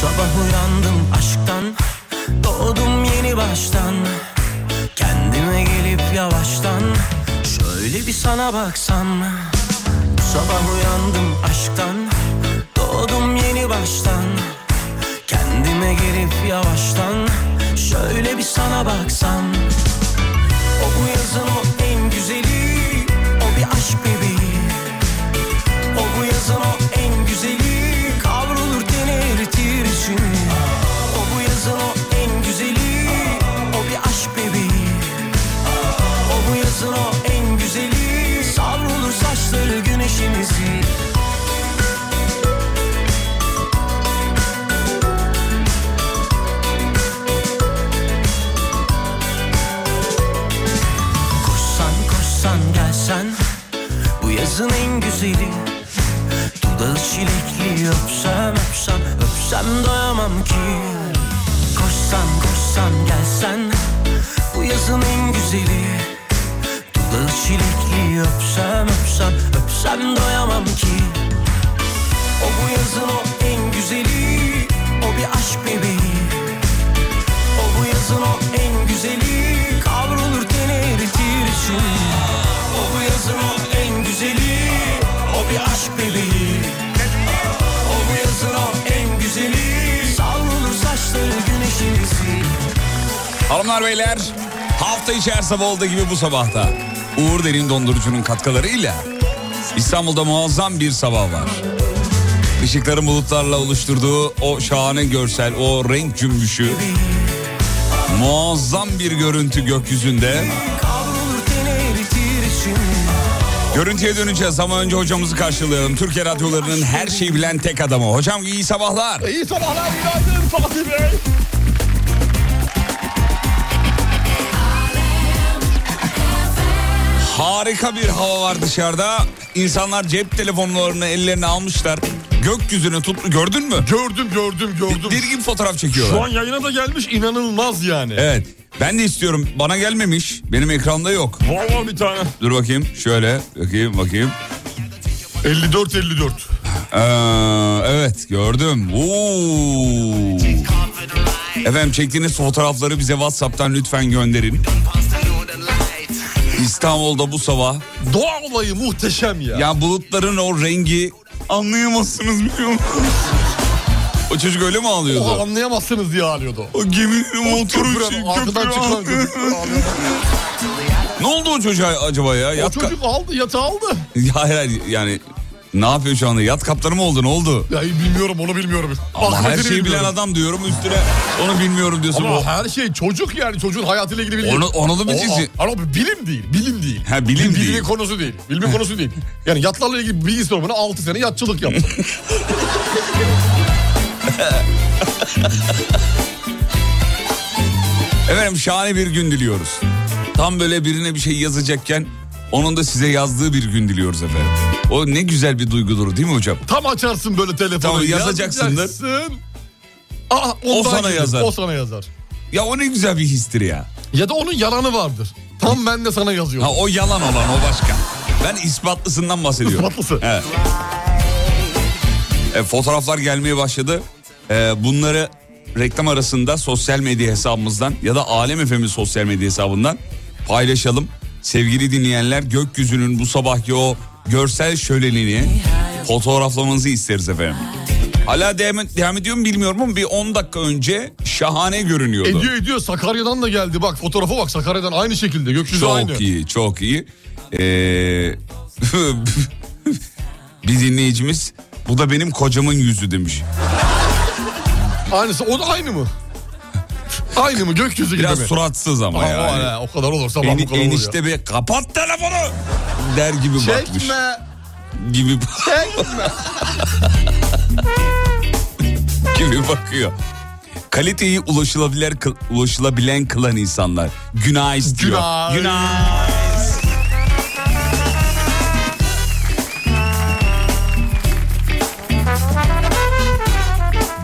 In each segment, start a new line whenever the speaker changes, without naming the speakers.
Sabah uyandım aşktan Doğdum yeni baştan Kendime gelip yavaştan Şöyle bir sana baksam Sabah uyandım aşktan Doğdum yeni baştan Kendime gelip yavaştan Şöyle bir sana baksam O bu yazın o en güzeli O bir aşk bebeği o bu yazın o en güzeli Kavrulur denirtir için O bu yazın o en güzeli O bir aşk bebeği O bu yazın o en güzeli Savrulur saçları güneşimizi Koşsan koşsan gelsen Bu yazın en güzeli Dudağı çilekli öpsem öpsem Öpsem doyamam ki Koşsan koşsan gelsen Bu yazın en güzeli Dudağı çilekli öpsem öpsem Öpsem doyamam ki O bu yazın o en güzeli O bir aşk bebeği O bu yazın o en güzeli Kavrulur teni eritir için O bu yazın o en güzeli O bir aşk bebeği O bu yazın o en güzeli Savrulur saçları güneşimizi
Hanımlar beyler hafta içi her sabah olduğu gibi bu sabahta Uğur Derin Dondurucu'nun katkılarıyla İstanbul'da muazzam bir sabah var. Işıkların bulutlarla oluşturduğu o şahane görsel, o renk cümbüşü. Muazzam bir görüntü gökyüzünde.
Kavrulur teni eritir için
Görüntüye döneceğiz ama önce hocamızı karşılayalım. Türkiye radyolarının her şeyi bilen tek adamı. Hocam iyi sabahlar.
İyi sabahlar, günaydın Fatih Bey.
Harika bir hava var dışarıda. İnsanlar cep telefonlarını ellerine almışlar. Gökyüzünü tuttu gördün mü?
Gördüm, gördüm, gördüm.
Deli gibi fotoğraf
Şu an
çekiyorlar.
yayına da gelmiş, inanılmaz yani.
Evet. Ben de istiyorum. Bana gelmemiş. Benim ekranda yok.
Var var bir tane.
Dur bakayım. Şöyle. Bakayım bakayım.
54-54.
Ee, evet gördüm. Oo. Efendim çektiğiniz fotoğrafları bize Whatsapp'tan lütfen gönderin. İstanbul'da bu sabah.
Doğa olayı muhteşem ya.
Ya bulutların o rengi anlayamazsınız biliyor musunuz? O çocuk öyle mi
O
ağlıyordu?
anlayamazsınız diye ağlıyordu. o.
O geminin motoru
Köprü
için
arkadan
köprü
çıkan
ağlıyor.
köprü ağlıyor.
Ne oldu o çocuğa acaba ya?
O
Yat
çocuk aldı, yatağı aldı.
Ya hayır, hayır yani ne yapıyor şu anda? Yat kaptanı mı oldu? Ne oldu?
Ya bilmiyorum, onu bilmiyorum.
Ama her
Akıbetini
şeyi bilen
bilmiyorum.
adam diyorum üstüne onu bilmiyorum diyorsun.
Ama
Bu-
her şey çocuk yani çocuğun hayatıyla ilgili bilgi.
Onu- onu da bilgisi-
O- Ama bilim değil, bilim değil.
Ha, bilim
Bilgi
değil.
konusu değil, bilme konusu değil. Yani yatlarla ilgili bilgi sorumuna 6 sene yatçılık yaptı.
Efendim şahane bir gün diliyoruz. Tam böyle birine bir şey yazacakken onun da size yazdığı bir gün diliyoruz efendim. O ne güzel bir duygudur değil mi hocam?
Tam açarsın böyle telefonu.
Tamam, yazacaksındır.
yazacaksın. Aa, ondan
O sana
gelir,
yazar.
O sana yazar.
Ya o ne güzel bir histir ya.
Ya da onun yalanı vardır. Tam ben de sana yazıyorum.
Ha o yalan olan o başka. Ben ispatlısından bahsediyorum.
İspatlısı.
Evet. E, fotoğraflar gelmeye başladı. E, bunları reklam arasında sosyal medya hesabımızdan ya da Alem Efem'in sosyal medya hesabından paylaşalım. Sevgili dinleyenler gökyüzünün bu sabahki o görsel şölelini fotoğraflamanızı isteriz efendim. Hala devam, devam ediyor mu bilmiyorum ama bir 10 dakika önce şahane görünüyordu.
Ediyor ediyor Sakarya'dan da geldi bak fotoğrafa bak Sakarya'dan aynı şekilde gökyüzü
Çok
aynı.
iyi, çok iyi. Ee, bir dinleyicimiz bu da benim kocamın yüzü demiş.
Aynısı o da aynı mı? aynı mı gökyüzü gibi
Biraz
mi?
suratsız ama
Aa,
yani.
o- o kadar olur sabah
En,
bu kadar olur ya.
enişte bir kapat telefonu der gibi bakmış.
Çekme
Gibi
çekme.
gibi bakıyor. Kaliteyi ulaşılabilir, kı- ulaşılabilen kılan insanlar. Günah istiyor.
Günah.
Günah.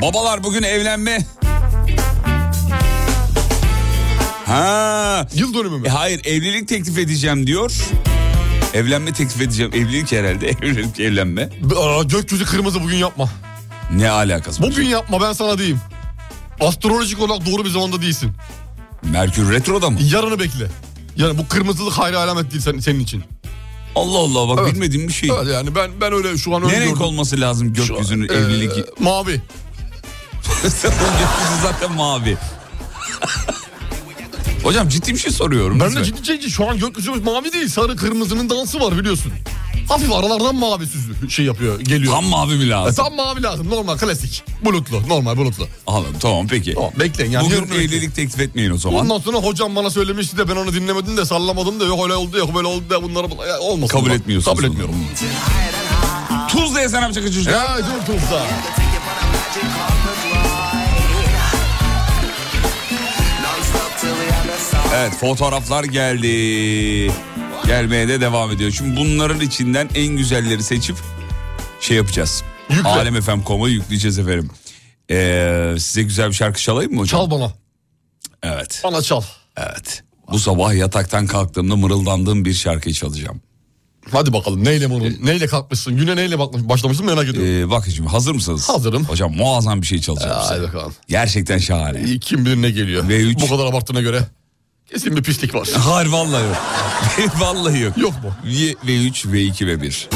Babalar bugün evlenme. Ha.
Yıl dönümü mü?
E hayır evlilik teklif edeceğim diyor. Evlenme teklif edeceğim. Evlilik herhalde. Evlilik evlenme.
Aa, gökyüzü kırmızı bugün yapma.
Ne alakası var?
Bugün yapma ben sana diyeyim. Astrolojik olarak doğru bir zamanda değilsin.
Merkür retroda mı?
Yarını bekle. Yani bu kırmızılık hayra alamet değil sen- senin için.
Allah Allah bak
Evet.
bilmediğim bir şey.
Evet yani ben ben öyle şu an öyle
Ne renk
gördüm.
olması lazım gökyüzünün
Ee,
evlilik?
mavi.
Gökyüzü zaten mavi. Hocam ciddi bir şey soruyorum.
Ben de
lütfen.
ciddi ciddi şu an gökyüzü mavi değil sarı kırmızının dansı var biliyorsun. Hafif aralardan mavi süzü şey yapıyor geliyor.
Tam mavi mi
E,
lazım?
tam mavi lazım normal klasik. Bulutlu normal bulutlu.
Anladım tamam peki.
Tamam bekleyin yani.
Bugün
yarını bekleyin.
evlilik teklif etmeyin o zaman.
Ondan sonra hocam bana söylemişti de ben onu dinlemedim de sallamadım da yok öyle oldu yok böyle oldu da bunları bul- ya, olmasın.
Kabul
Bak,
etmiyorsunuz.
Kabul etmiyorum.
Tuzla'ya selam çakıcı.
Ya dur dur da.
Evet fotoğraflar geldi. Gelmeye de devam ediyor. Şimdi bunların içinden en güzelleri seçip şey yapacağız.
Yükle.
Alemfm.com'a yükleyeceğiz efendim. Ee, size güzel bir şarkı çalayım mı hocam?
Çal bana.
Evet.
Bana çal.
Evet. Bu sabah yataktan kalktığımda mırıldandığım bir şarkıyı çalacağım.
Hadi bakalım neyle bunu neyle kalkmışsın güne neyle bakmış, başlamışsın merak ediyorum.
Ee, bakın şimdi hazır mısınız?
Hazırım.
Hocam muazzam bir şey çalacağım
Ya,
size.
hadi bakalım.
Gerçekten şahane.
İyi, Kim bilir ne geliyor.
V3.
Bu kadar abarttığına göre. Kesin bir pislik var.
Hayır vallahi yok. vallahi yok.
Yok mu?
V- V3, V2 ve 1.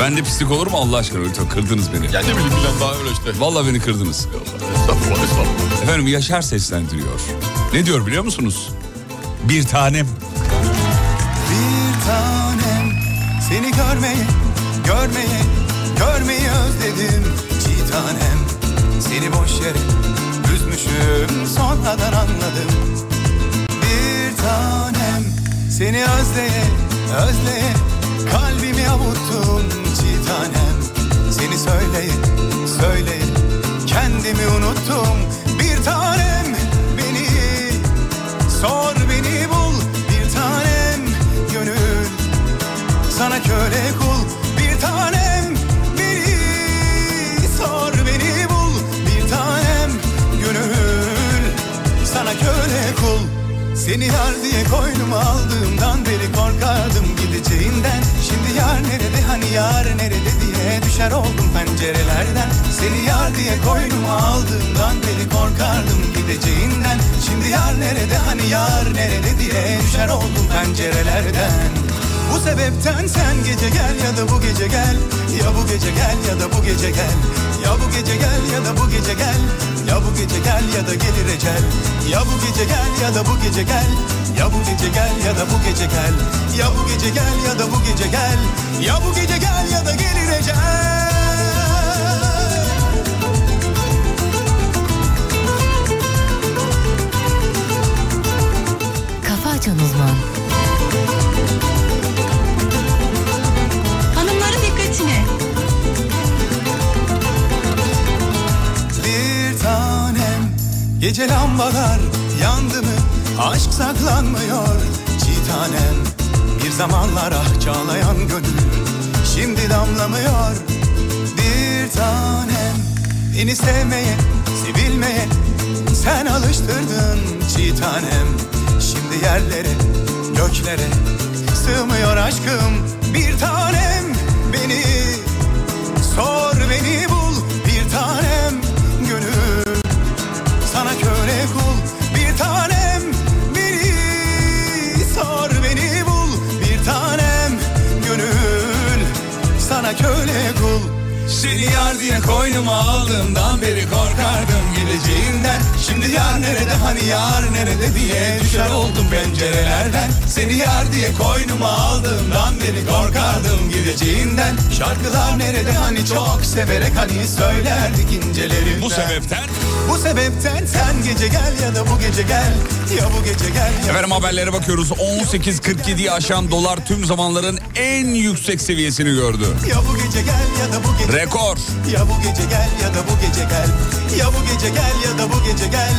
Ben de pislik olur mu Allah aşkına? Lütfen kırdınız beni.
Ya ne bileyim bilen daha öyle işte.
Vallahi beni kırdınız.
Estağfurullah estağfurullah.
Efendim Yaşar seslendiriyor. Ne diyor biliyor musunuz? Bir tanem.
Bir tanem seni görmeyi, görmeyi, görmeyi özledim Bir tanem seni boş yere üzmüşüm sonradan anladım Bir tanem seni özleye, özleye kalbimi avuttum Bir tanem seni söyleye, söyleye kendimi unuttum Bir tanem beni Sor beni bul bir tanem gönül Sana köle kul bir tanem beni Sor beni bul bir tanem gönül Sana köle kul seni yar diye koynuma aldığımdan beri korkardım gideceğinden Şimdi yar nerede hani yar nerede diye düşer oldum pencerelerden Seni yar diye koynuma aldığımdan beri korkardım gideceğinden Şimdi yar nerede hani yar nerede diye düşer oldum pencerelerden bu sebepten sen gece gel ya da bu gece gel Ya bu gece gel ya da bu gece gel Ya bu gece gel ya da bu gece gel Ya bu gece gel ya da gelir ecel Ya bu gece gel ya da bu gece gel Ya bu gece gel ya da bu gece gel Ya bu gece gel ya da bu gece gel Ya bu gece gel ya da gelir ecel
Kafa Açan Uzman.
Hanımların dikkatine.
Bir tanem Gece lambalar yandı mı Aşk saklanmıyor Çiğ tanem Bir zamanlar ah çağlayan gönül Şimdi damlamıyor Bir tanem Beni sevmeye, sevilmeye Sen alıştırdın Çiğ tanem Şimdi yerlere, göklere Sığmıyor aşkım Bir tanem beni Sor beni bul bir tanem gönül Sana köle kul bir tanem biri Sor beni bul bir tanem gönül Sana köle kul Seni yar diye koynuma aldığımdan beri korkardım geleceğinden Şimdi yar nerede hani yar nerede diye düşer oldum pencerelerden Seni yar diye koynuma aldığımdan beri korkardım geleceğinden Şarkılar nerede hani çok severek hani söylerdik incelerinden
Bu sebepten
Bu sebepten sen gece gel ya da bu gece gel Ya bu gece gel ya
Efendim haberlere bakıyoruz. 18.47'yi aşan dolar tüm zamanların en yüksek seviyesini gördü.
Ya bu gece gel ya da bu gece
Rekor.
Ya bu gece gel ya da bu gece gel Ya bu gece gel ya da bu gece gel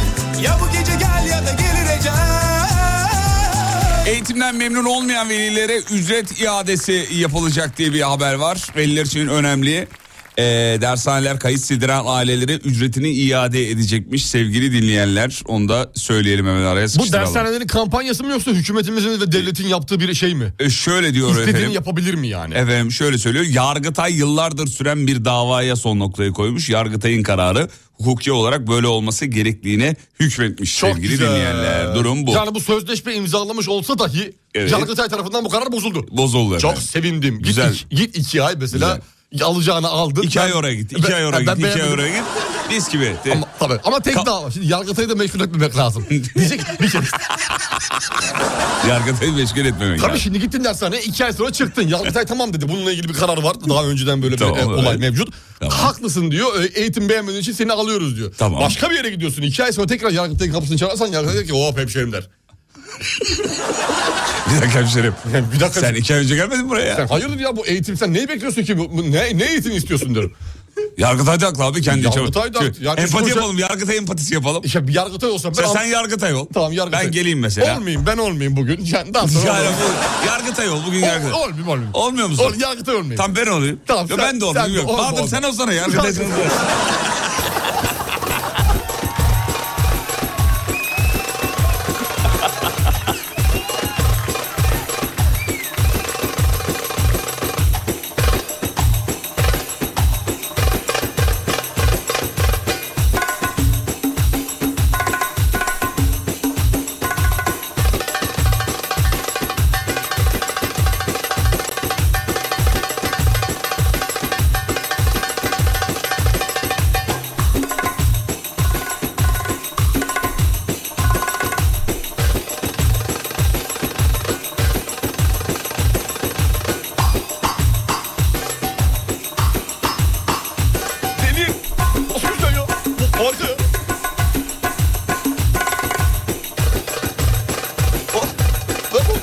Ya bu gece gel ya da gelir ecel
Eğitimden memnun olmayan velilere ücret iadesi yapılacak diye bir haber var. Veliler için önemli. Ee, dershaneler kayıt sildiren ailelere ücretini iade edecekmiş sevgili dinleyenler. Onu da söyleyelim hemen araya
Bu
sıkıştıralım.
dershanelerin kampanyası mı yoksa hükümetimizin ve devletin yaptığı bir şey mi?
Ee, şöyle diyor efendim.
İstediğini yapabilir mi yani?
Efendim şöyle söylüyor. Yargıtay yıllardır süren bir davaya son noktayı koymuş. Yargıtay'ın kararı hukuki olarak böyle olması gerektiğine hükmetmiş
Çok
sevgili
güzel.
dinleyenler. Durum bu.
Yani bu sözleşme imzalamış olsa dahi
Evet.
Yargıtay tarafından bu karar bozuldu.
Bozuldu
Çok
efendim.
sevindim. Git
Güzel.
iki- Git, iki ay mesela alacağını aldın.
İki ay oraya git, iki
Ben-
ay oraya
ben
git, iki ay
beğenmedim.
oraya git. Mis gibi.
Ama, tabii. Ama tek
Ka-
dava. Şimdi Yargıtay'ı da meşgul etmemek lazım. Diyecek bir kere.
Yargıtay'ı meşgul etmemek
Tabii
lazım.
şimdi gittin dershaneye iki ay sonra çıktın. Yargıtay tamam dedi. Bununla ilgili bir karar var. Daha önceden böyle
Tamam,
bir e, olay
evet.
mevcut.
Tamam.
Haklısın diyor. e, Eğitim beğenmediğin için seni alıyoruz diyor.
Tamam.
Başka bir yere gidiyorsun. İki ay sonra tekrar Yargıtay'ın kapısını çalarsan Yargıtay der ki hop hemşerim der.
Bir dakika hemşerim.
Bir dakika.
Sen iki ay önce gelmedin buraya. ya.
Sen hayırdır ya bu eğitim sen neyi bekliyorsun ki? Bu, bu ne, ne eğitim istiyorsun derim.
Yargıtay da haklı abi kendi çabuk.
Yargıtay da haklı. Yani biz
empati
konuşan-
yapalım, Yargıtay empatisi yapalım.
İşte bir Yargıtay olsam ben...
Sen, sen Yargıtay ol.
Tamam Yargıtay.
Ben geleyim mesela.
Olmayayım ben olmayayım bugün. Yani daha sonra...
Yani bu- Yargıtay ol, bugün Yargıtay.
Ol, olmayayım olmayayım.
Olmuyor musun?
Ol, yargıtay olmayayım.
Tam ben olayım.
Tamam,
Yo,
sen-
ben de
sen
olayım.
de
Yok.
olma,
Bahadır
olma.
sen olsana ya. Bir de sen olsana.
Deli. Nasıl güzel ya? Bu Harika ya. Oh, lan bu.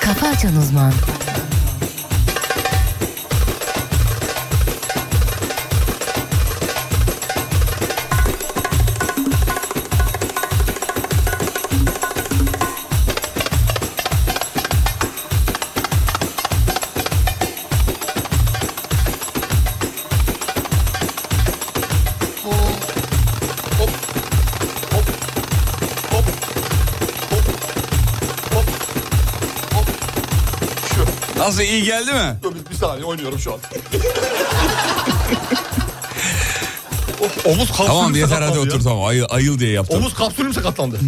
Kafa Açan Uzman.
Şu.
Nasıl iyi geldi mi?
Dur bir, bir saniye oynuyorum şu an. Oh, Omuz kapsülüm
Tamam yeter
sakatlandı
hadi
ya.
otur tamam. Ayıl, ayıl diye yaptım. Hmm.
Omuz kapsülüm sakatlandı.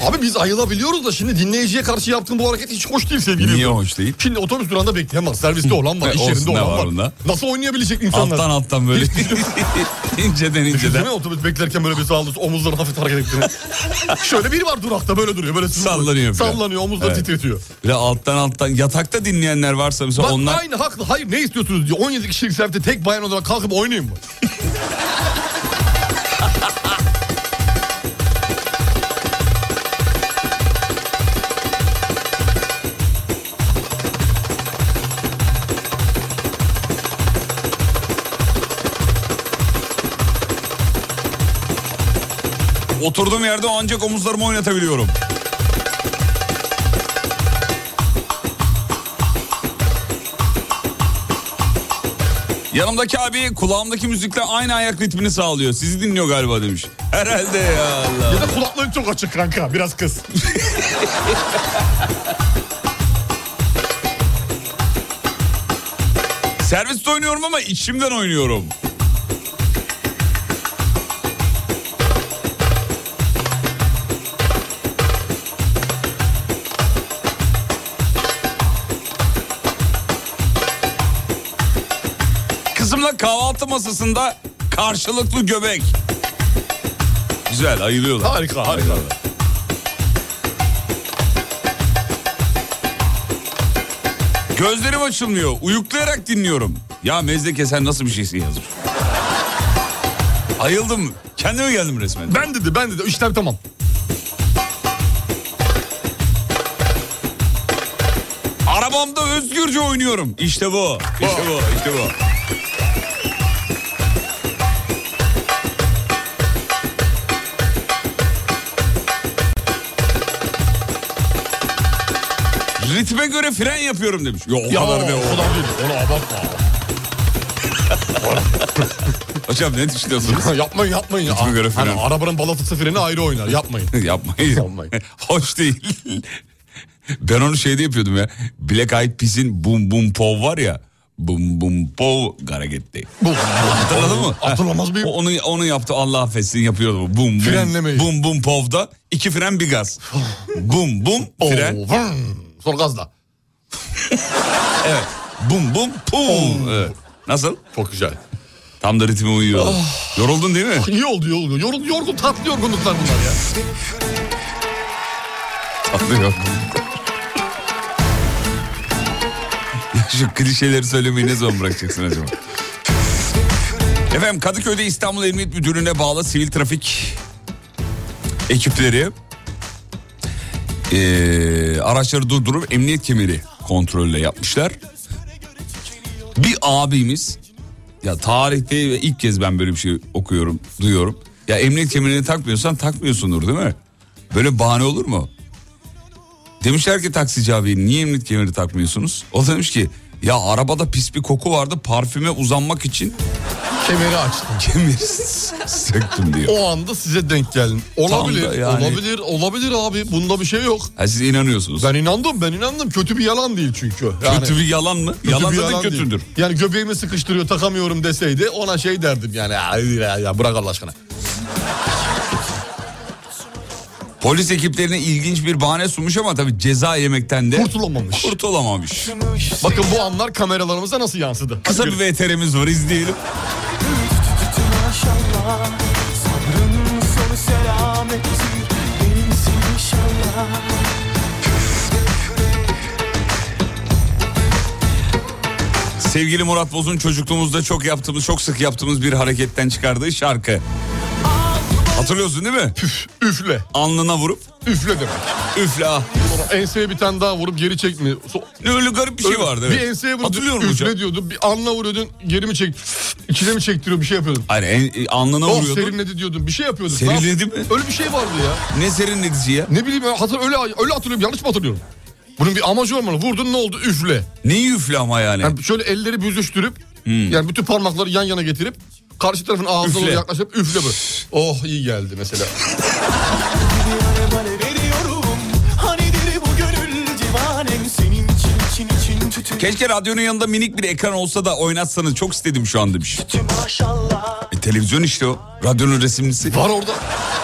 Abi biz ayılabiliyoruz da şimdi dinleyiciye karşı yaptığın bu hareket hiç hoş değil sevgili.
Niye
dinleyiciler.
hoş değil?
Şimdi otobüs durağında bekleyemez. Serviste olan var,
E,
iş
olsun,
yerinde
ne
olan
var
var.
bunda?
Nasıl oynayabilecek insanlar? şey
Alttan alttan böyle inceden inceden
Değil mi şey otobüs beklerken böyle bir sağlıyorsun omuzları hafif hareket ettiğini. Şöyle biri var durakta böyle duruyor. Böyle sızlıyor.
Sallanıyor falan.
Sallanıyor omuzları
Evet.
titretiyor.
bir de alttan alttan yatakta dinleyenler varsa mesela
Bak
onlar
aynı haklı. Hayır ne istiyorsunuz diyor. 17 kişilik serviste tek bayan olarak kalkıp oynayayım mı?
oturduğum yerde ancak omuzlarımı oynatabiliyorum. Yanımdaki abi kulağımdaki müzikle aynı ayak ritmini sağlıyor. Sizi dinliyor galiba demiş. Herhalde ya Allah.
Ya da kulakların çok açık kanka. Biraz kız.
Serviste oynuyorum ama içimden oynuyorum. kızımla kahvaltı masasında karşılıklı göbek. Güzel ayılıyorlar.
Harika harika.
Gözlerim açılmıyor. Uyuklayarak dinliyorum. Ya mezdeke sen nasıl bir şeysin yazmış. Ayıldım. Kendime geldim resmen.
Ben dedi ben dedi işler tamam.
Arabamda özgürce oynuyorum. İşte bu. İşte bu. İşte bu. Ritme göre fren yapıyorum demiş. Yo, o
Ya
kadar be o.
o kadar değil. Onu abartma.
Hocam ne düşünüyorsunuz?
Ha, yapmayın yapmayın. ya.
Ritme göre
Hani
fren.
arabanın balatası freni ayrı oynar yapmayın.
Yapmayın.
Yapmayın.
Hoş değil. ben onu şeyde yapıyordum ya. Black Eyed Peas'in Bum Bum Pov var ya. Bum Bum Pov hareketi.
Bu.
Hatırladın mı?
Hatırlamaz
O-
mıyım?
Onu, onu yaptı Allah affetsin yapıyordu bu. Bum bum.
Frenlemeyi.
Bum bum povda. iki fren bir gaz. bum bum fren.
Oo, vın. Sonra gazla.
Evet. Bum bum pum. Evet. Nasıl?
Çok güzel. Ah.
Tam da ritme uyuyor. Yoruldun değil mi?
İyi oldu iyi oldu. Yorgun, yorgun tatlı yorgunluklar bunlar ya.
Tatlı yoruldum. Ya Şu klişeleri söylemeyi ne zaman bırakacaksın acaba? Efendim Kadıköy'de İstanbul Emniyet Müdürlüğü'ne bağlı sivil trafik ekipleri eee, araçları durdurup emniyet kemeri kontrolüyle yapmışlar. Bir abimiz ya tarihte ilk kez ben böyle bir şey okuyorum, duyuyorum. Ya emniyet kemerini takmıyorsan takmıyorsundur değil mi? Böyle bahane olur mu? Demişler ki taksici abi niye emniyet kemeri takmıyorsunuz? O da demiş ki ya arabada pis bir koku vardı parfüme uzanmak için
Kemeri açtım.
kemeri s- söktüm diyor.
O anda size denk gelin. Olabilir,
da yani.
olabilir, olabilir abi. Bunda bir şey yok.
Ha, siz inanıyorsunuz.
Ben inandım, ben inandım. Kötü bir yalan değil çünkü. Yani,
kötü bir yalan mı?
kötü
yalan
bir
zaten
yalan değil.
kötüdür.
Yani göbeğimi sıkıştırıyor takamıyorum deseydi ona şey derdim yani. "Ya, Ya, ya bırak Allah aşkına.
Polis ekiplerine ilginç bir bahane sunmuş ama tabii ceza yemekten de
Kurtulamamış.
kurtulamamış.
Bakın bu anlar kameralarımıza nasıl yansıdı.
Kısa bir VTR'miz var izleyelim.
Tüm maşallah Sabrın sonu selamettir Benimsin inşallah
Sevgili Murat Boz'un çocukluğumuzda çok yaptığımız, çok sık yaptığımız bir hareketten çıkardığı şarkı. Hatırlıyorsun değil mi?
Üfle.
Alnına vurup
Üfle demek.
üfle ah.
Sonra enseye bir tane daha vurup geri çekme. So-
Öyle garip bir şey vardı.
Bir
evet.
enseye vuruyordun,
Hatırlıyorum
üfle
hocam.
diyordun. Bir anla vuruyordun, geri mi çek... İçine mi çektiriyor bir şey yapıyordun.
Hayır en, e, alnına
Oh
vuruyordu.
serinledi diyordun, bir şey yapıyordun.
Serinledi
Ne yap-
mi?
Öyle bir şey vardı ya.
Ne serinledici ya?
Ne bileyim ya, hatır, öyle, öyle hatırlıyorum, yanlış mı hatırlıyorum? Bunun bir amacı olmalı. Vurdun ne oldu? Üfle.
Neyi üfle ama yani? Hmm.
Yani şöyle elleri büzüştürüp, yani bütün parmakları yan yana getirip, karşı tarafın ağzına
Üfle.
doğru yaklaşıp üfle böyle. Oh iyi geldi mesela.
Divane bana veriyorum Hani diri bu gönül divanem Senin için için için tütün
Keşke radyonun yanında minik bir ekran olsa da oynatsanız çok istedim şu an demiş.
Tüm maşallah
E, televizyon işte o. Radyonun resimlisi.
Var orada.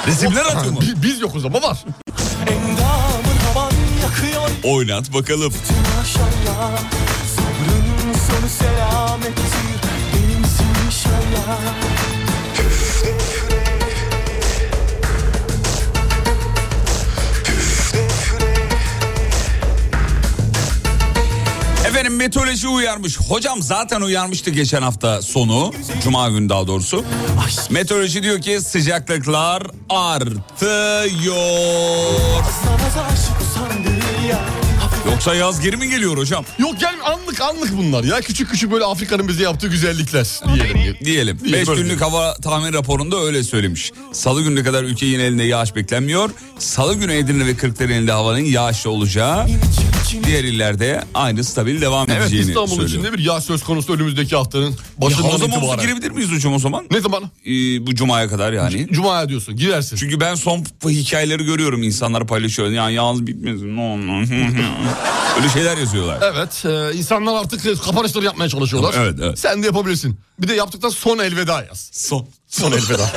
Resimler atıyor mu?
Biz, biz yokuz ama var.
Endamın havan yakıyor
Oynat bakalım.
Tüm maşallah Sabrın sonu selamettir Benimsin inşallah
Efendim meteoroloji uyarmış. Hocam zaten uyarmıştı geçen hafta sonu. Cuma günü daha doğrusu. Meteoroloji diyor ki sıcaklıklar artıyor.
Sana da aşık usandı ya
Yoksa yaz geri mi geliyor hocam?
Yok gel anlık anlık bunlar ya. Küçük küçük böyle Afrika'nın bize yaptığı güzellikler diyelim.
Diyelim. 5
böyle
günlük hava tahmin raporunda öyle söylemiş. Salı gününe kadar ülke yine elinde yağış beklenmiyor. Salı günü Edirne ve Kırklareli'nde havanın yağışlı olacağı. Diğer illerde aynı stabil devam
Evet
edeceğini
İstanbul için
söylüyor.
de bir yağ söz konusu önümüzdeki haftanın başından
Ya o zaman
itibaren.
girebilir miyiz hocam o zaman?
Ne zaman?
Ee, bu cumaya kadar yani.
Cuma'ya diyorsun girersin.
Çünkü ben son p- hikayeleri görüyorum insanlar paylaşıyor. Yani yalnız bitmez. No, no. Öyle şeyler yazıyorlar.
Evet e, insanlar artık e, kapanışları yapmaya çalışıyorlar.
Evet, evet.
Sen de yapabilirsin. Bir de yaptıktan son elveda yaz.
Son.
Son elveda.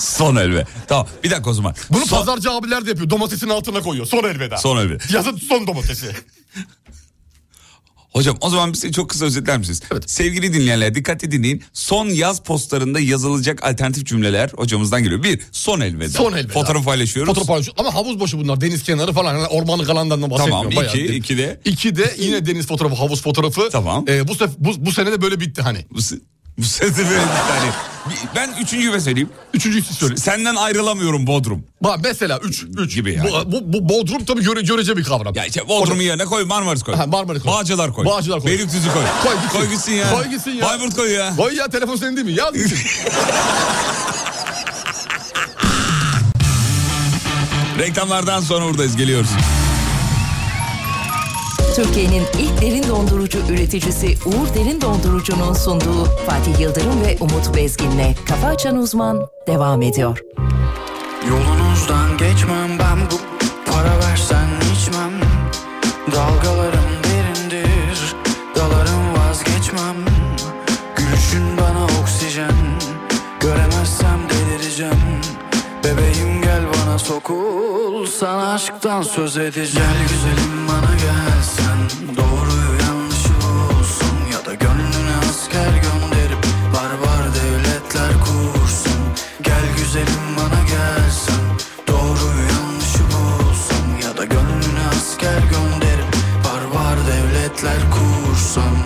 Son elbe. Tamam bir dakika o zaman.
Bunu
son,
pazarcı abiler de yapıyor. Domatesin altına koyuyor. Son elveda.
son elbe.
Yazın son domatesi.
Hocam o zaman bize çok kısa özetler misiniz? Sevgili dinleyenler dikkatli dinleyin. Son yaz postlarında yazılacak alternatif cümleler hocamızdan geliyor. Bir, son elveda.
Son elveda.
Fotoğraf paylaşıyoruz.
Fotoğraf paylaşıyor. Ama havuz boşu bunlar. Deniz kenarı falan. Yani ormanlık alanlarından bahsetmiyorum.
Tamam
Bayağı
iki,
deniz-
iki de.
İki de yine deniz fotoğrafı, havuz fotoğrafı.
Tamam.
Ee, bu, sef, bu, bu sene de böyle bitti hani.
Bu, se- bu sefer de böyle bir tane. Bir- Ben üçüncü ve söyleyeyim.
Üçüncüyü siz söyleyin.
Senden ayrılamıyorum Bodrum.
Bak mesela üç. üç.
Gibi yani.
Bu, bu, bu Bodrum tabii göre, görece bir kavram.
Ya işte Bodrum'u yerine koy Marmaris koy.
Ha, Marmaris koy.
Bağcılar koy.
Bağcılar koy.
Beylikdüzü koy.
Koy gitsin.
Koy gitsin ya.
Koy gitsin ya.
Bayburt koy ya.
Vay ya telefon senin değil mi? Yaz gitsin.
Reklamlardan sonra buradayız geliyoruz.
Türkiye'nin ilk derin dondurucu üreticisi Uğur Derin Dondurucu'nun sunduğu Fatih Yıldırım ve Umut Bezgin'le Kafa Açan Uzman devam ediyor.
Yolunuzdan geçmem ben bu para versen içmem Dalgalarım derindir dalarım vazgeçmem Gülüşün bana oksijen göremezsem delireceğim Bebeğim gel bana sokul sana aşktan söz edeceğim Gel güzelim bana gelsen doğruyu yanlışı bulsun Ya da gönlüne asker gönderip barbar devletler kursun Gel güzelim bana gelsen Doğruyu yanlışı bulsun Ya da gönlüne asker gönderip Barbar devletler kursun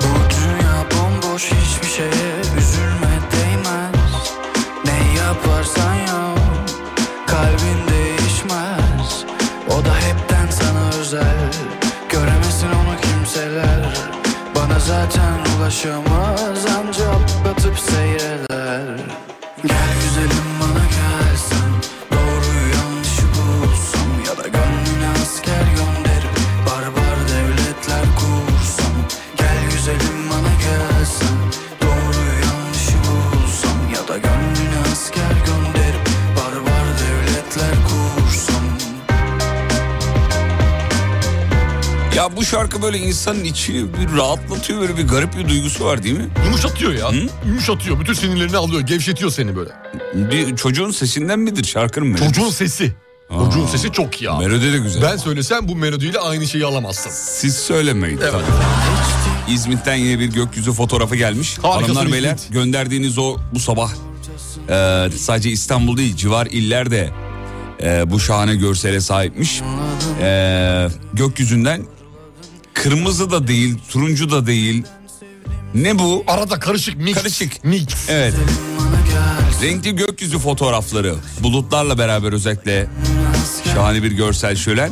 Bu dünya bomboş hiçbir şeye üzülme değmez Ne yaparsan yap Kalbin değişmez O da hepten sana özel Göremesin onu kimseler Bana zaten ulaşamaz Ancak batıp seyreder Gel güzelim bana gelsen Doğruyu yanlışı bulsun Ya da gönlüne asker gönderip Barbar devletler kursun Gel güzelim bana gelsen Doğruyu yanlışı bulsun Ya da gönlüne asker gönderip Barbar devletler kursun
Ya bu şarkı böyle insanın içini bir rahatlatıyor böyle bir garip bir duygusu var değil mi?
Yumuşatıyor ya. Yumuşatıyor. Bütün sinirlerini alıyor. Gevşetiyor seni böyle.
Bir çocuğun sesinden midir şarkının melodisi?
Çocuğun sesi. Çocuğun sesi çok ya.
Melodi de güzel.
Ben söylesem bu melodiyle aynı şeyi alamazsın.
Siz söylemeyin.
Evet.
tabii. İzmit'ten yine bir gökyüzü fotoğrafı gelmiş.
Harikasın
Hanımlar
İzmit.
beyler gönderdiğiniz o bu sabah e, sadece İstanbul değil civar iller de e, bu şahane görsele sahipmiş. E, gökyüzünden kırmızı da değil turuncu da değil ne bu?
Arada karışık mix.
Karışık.
Mix.
Evet. Renkli gökyüzü fotoğrafları bulutlarla beraber özellikle şahane bir görsel şölen.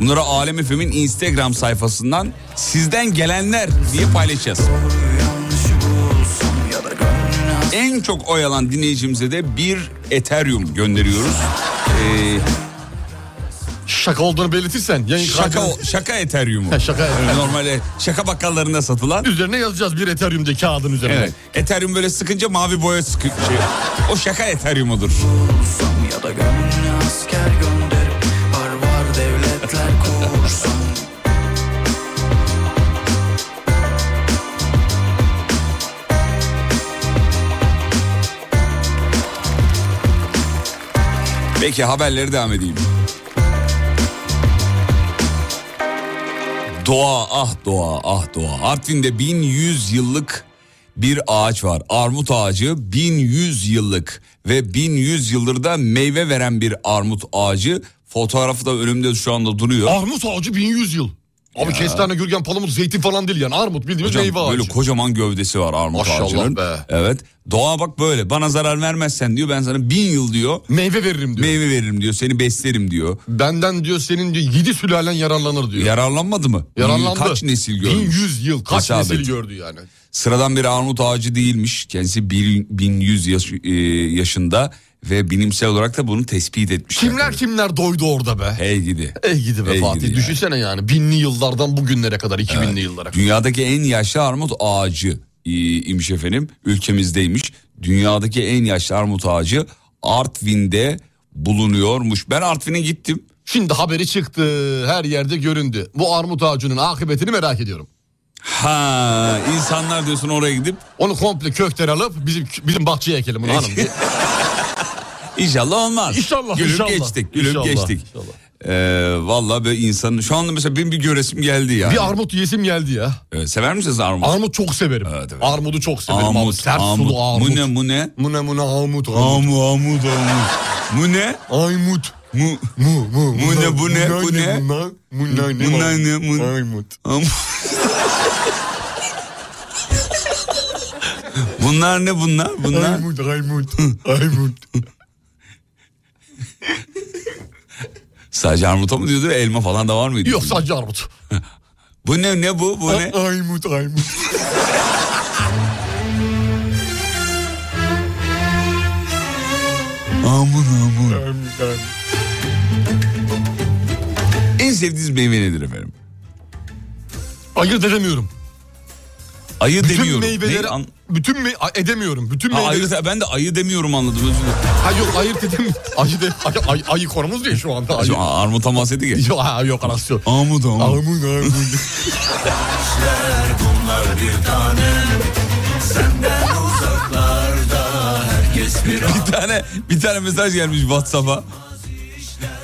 Bunları Alem FM'in Instagram sayfasından sizden gelenler diye paylaşacağız. En çok oy alan dinleyicimize de bir Ethereum gönderiyoruz. Ee,
Şaka olduğunu belirtirsen. Yayın
şaka
kaydının
şaka Ethereum'u.
Ha, şaka Ethereum.
Ee, Normalde şaka bakkallarında satılan.
üzerine yazacağız bir Ethereum'de kağıdın üzerine.
Evet. Ethereum böyle sıkınca mavi boya sıkı şey. O şaka Ethereum'udur.
olsun ya da gönlüne asker gönderip barbar devletler kursun.
Peki haberleri devam edeyim. Doğa ah doğa ah doğa. Artvin'de 1100 yıllık bir ağaç var. Armut ağacı 1100 yıllık ve 1100 yıldır da meyve veren bir armut ağacı. Fotoğrafı da önümde şu anda duruyor.
Armut ağacı 1100 yıl. Abi kestane, gürgen, palamut, zeytin falan değil yani. Armut bildiğimiz
Hocam
meyve ağacı.
böyle kocaman gövdesi var armut
Maşallah
ağacının.
be.
Evet. Doğa bak böyle. Bana zarar vermezsen diyor ben sana bin yıl diyor
Meyve veririm diyor.
meyve veririm diyor. Seni beslerim diyor.
Benden diyor senin diyor 7 sülalen yararlanır diyor.
Yararlanmadı mı?
Yararlandı.
Kaç nesil görmüş?
1100 yıl kaç
Hesap et.
nesil gördü yani.
Sıradan bir armut ağacı değilmiş. Kendisi bir- 1100 yaş- e, yaşında ve bilimsel olarak da bunu tespit etmiş.
Kimler kimler doydu orada be.
Hey gidi.
Ey gidi be
Ey
Fatih.
gidi ya.
Düşünsene yani binli yıllardan bugünlere kadar, 2000'li yıllara kadar.
Dünyadaki en yaşlı armut ağacı e, imiş efendim. Ülkemizdeymiş. Dünyadaki en yaşlı armut ağacı Artvin'de bulunuyormuş. Ben Artvin'e gittim.
Şimdi haberi çıktı, her yerde göründü. Bu armut ağacının akıbetini merak ediyorum.
Ha insanlar diyorsun oraya gidip
Onu komple kökten alıp bizim bizim bahçeye ekelim bunu hanım. diye.
E, İnşallah olmaz.
İnşallah,
Gülüp
inşallah.
geçtik. Gülüp
İnşallah,
geçtik.
inşallah.
Ee, Valla böyle insanın şu anda mesela benim bir göresim geldi yani.
Bir armut yesim geldi ya.
Ee, sever misiniz armut?
Armut çok severim. Armudu çok severim. abi. Sert sulu armut.
Mu ne mu ne?
Mune mune armut. Armut.
Amu amut amut. Mu ne?
Aymut.
Mu
Mu mu.
Mu ne, bu ne, bu ne?
Muna muna ne?
Muna ne, mun-
Aymut.
am- bunlar ne bunlar? Bunlar
Aymut aymut. Aymut.
sadece armuta mı diyordu? Elma falan da var mıydı?
Yok sadece armut.
Bu ne ne bu? Bu ne?
Aymut aymut.
Amun amun.
Aymut aymut.
En sevdiğiniz meyve nedir efendim?
Ayırt edemiyorum.
Ayı
Bütün
demiyorum.
meyveleri
Ne? An-
bütün me a- edemiyorum. Bütün
Ha,
meyveleri
ayı- ben de ayı demiyorum anladım özür dilerim.
ha yok ayırt edemiyorum. Ayı de ay, ay, ayı konumuz değil şu anda. Ayı.
Şimdi Armut'a bahsetti ki.
Yok ha, yok anası yok.
Amut amut.
Amun amun.
Bir tane bir tane mesaj gelmiş WhatsApp'a.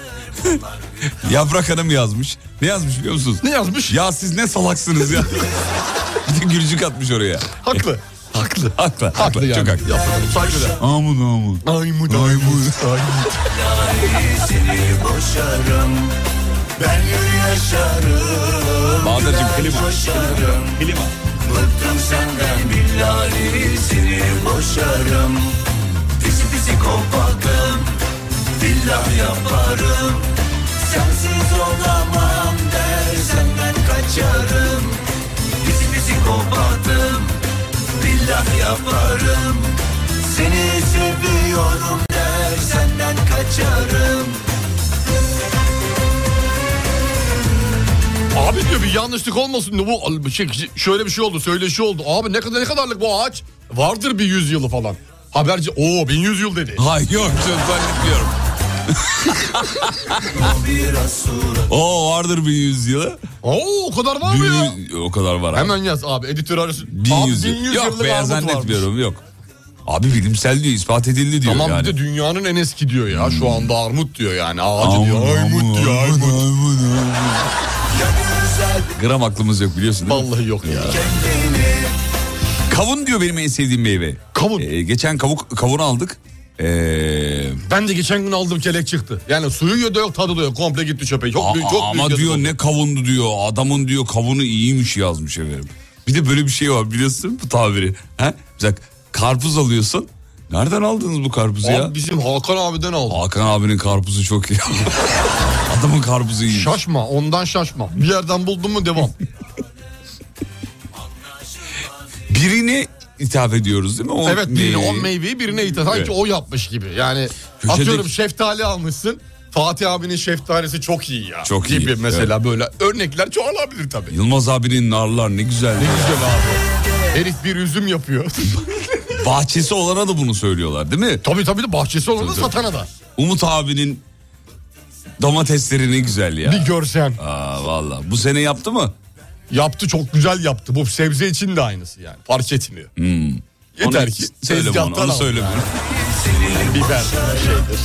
Yaprak Hanım yazmış. Ne yazmış biliyor musunuz?
Ne yazmış?
Ya siz ne salaksınız ya. bir de gülücük atmış oraya.
Haklı.
Haklı,
Haklı.
haklı,
Haklı yani.
çok haklı.
Yapalım, saygılar.
Amut amut.
Aymut aymut aymut.
Bahadır'cığım klima. Klima.
Abi diyor bir yanlışlık olmasın diyor. Bu şey, şöyle bir şey oldu, söyle şu oldu. Abi ne kadar ne kadarlık bu ağaç? Vardır bir yüz yılı falan. Haberci o 1100 yıl dedi.
Hayır yok çok zannetmiyorum. Oo vardır bir yüzyılı.
Oo o kadar var mı ya?
Bir, o kadar var abi.
Hemen yaz abi editör arası.
Bin
Abi,
yüz yıl.
1100
Yok
yıllık
be
armut varmış.
zannetmiyorum yok. Abi bilimsel diyor ispat edildi diyor
Tamam
yani.
bir de dünyanın en eski diyor ya. Şu anda armut diyor yani. Ağacı
Aman,
diyor. Aymut
aman,
diyor.
aman,
Aymut.
aman, aman. Gram aklımız yok biliyorsun değil mi?
Vallahi yok ya.
Kavun diyor benim en sevdiğim meyve.
Kavun.
Ee, geçen kavuk kavun aldık. Ee,
Ben de geçen gün aldım kelek çıktı. Yani suyu da yok tadı da yok. Komple gitti çöpe. Çok
a-
büyük, çok
ama
büyük
diyor
yazık oldu.
ne kavundu diyor. Adamın diyor kavunu iyiymiş yazmış efendim. Bir de böyle bir şey var biliyorsun bu tabiri. He? Mesela karpuz alıyorsun. Nereden aldınız bu karpuzu ya?
Abi bizim Hakan abiden aldım.
Hakan abinin karpuzu çok iyi. Adamın karpuzu iyi.
Şaşma ondan şaşma. Bir yerden buldun mu devam.
Birini ithaf ediyoruz değil mi? O
evet
meyveyi.
birine o meyveyi birine ithaf. Sanki
Evet.
o yapmış gibi. Yani
Köşedeki-
atıyorum şeftali almışsın. Fatih abinin şeftalisi çok iyi ya.
Çok
gibi
iyi,
mesela böyle örnekler çoğalabilir tabii.
Yılmaz abinin narlar ne güzel.
Ne güzel abi. Herif bir üzüm yapıyor.
Bahçesi olana da bunu söylüyorlar değil mi?
tabii tabii de bahçesi olanı
Tabii.
satana da.
Umut abinin domatesleri ne güzel ya.
Bir görsen.
Aa valla. Bu sene yaptı mı?
Yaptı çok güzel yaptı. Bu sebze için de aynısı yani. Fark etmiyor. Yeter
Hmm. Onu
ki.
söyle bunu,
tezgahtan
onu
al.
söyle bunu.
Biber şeydir.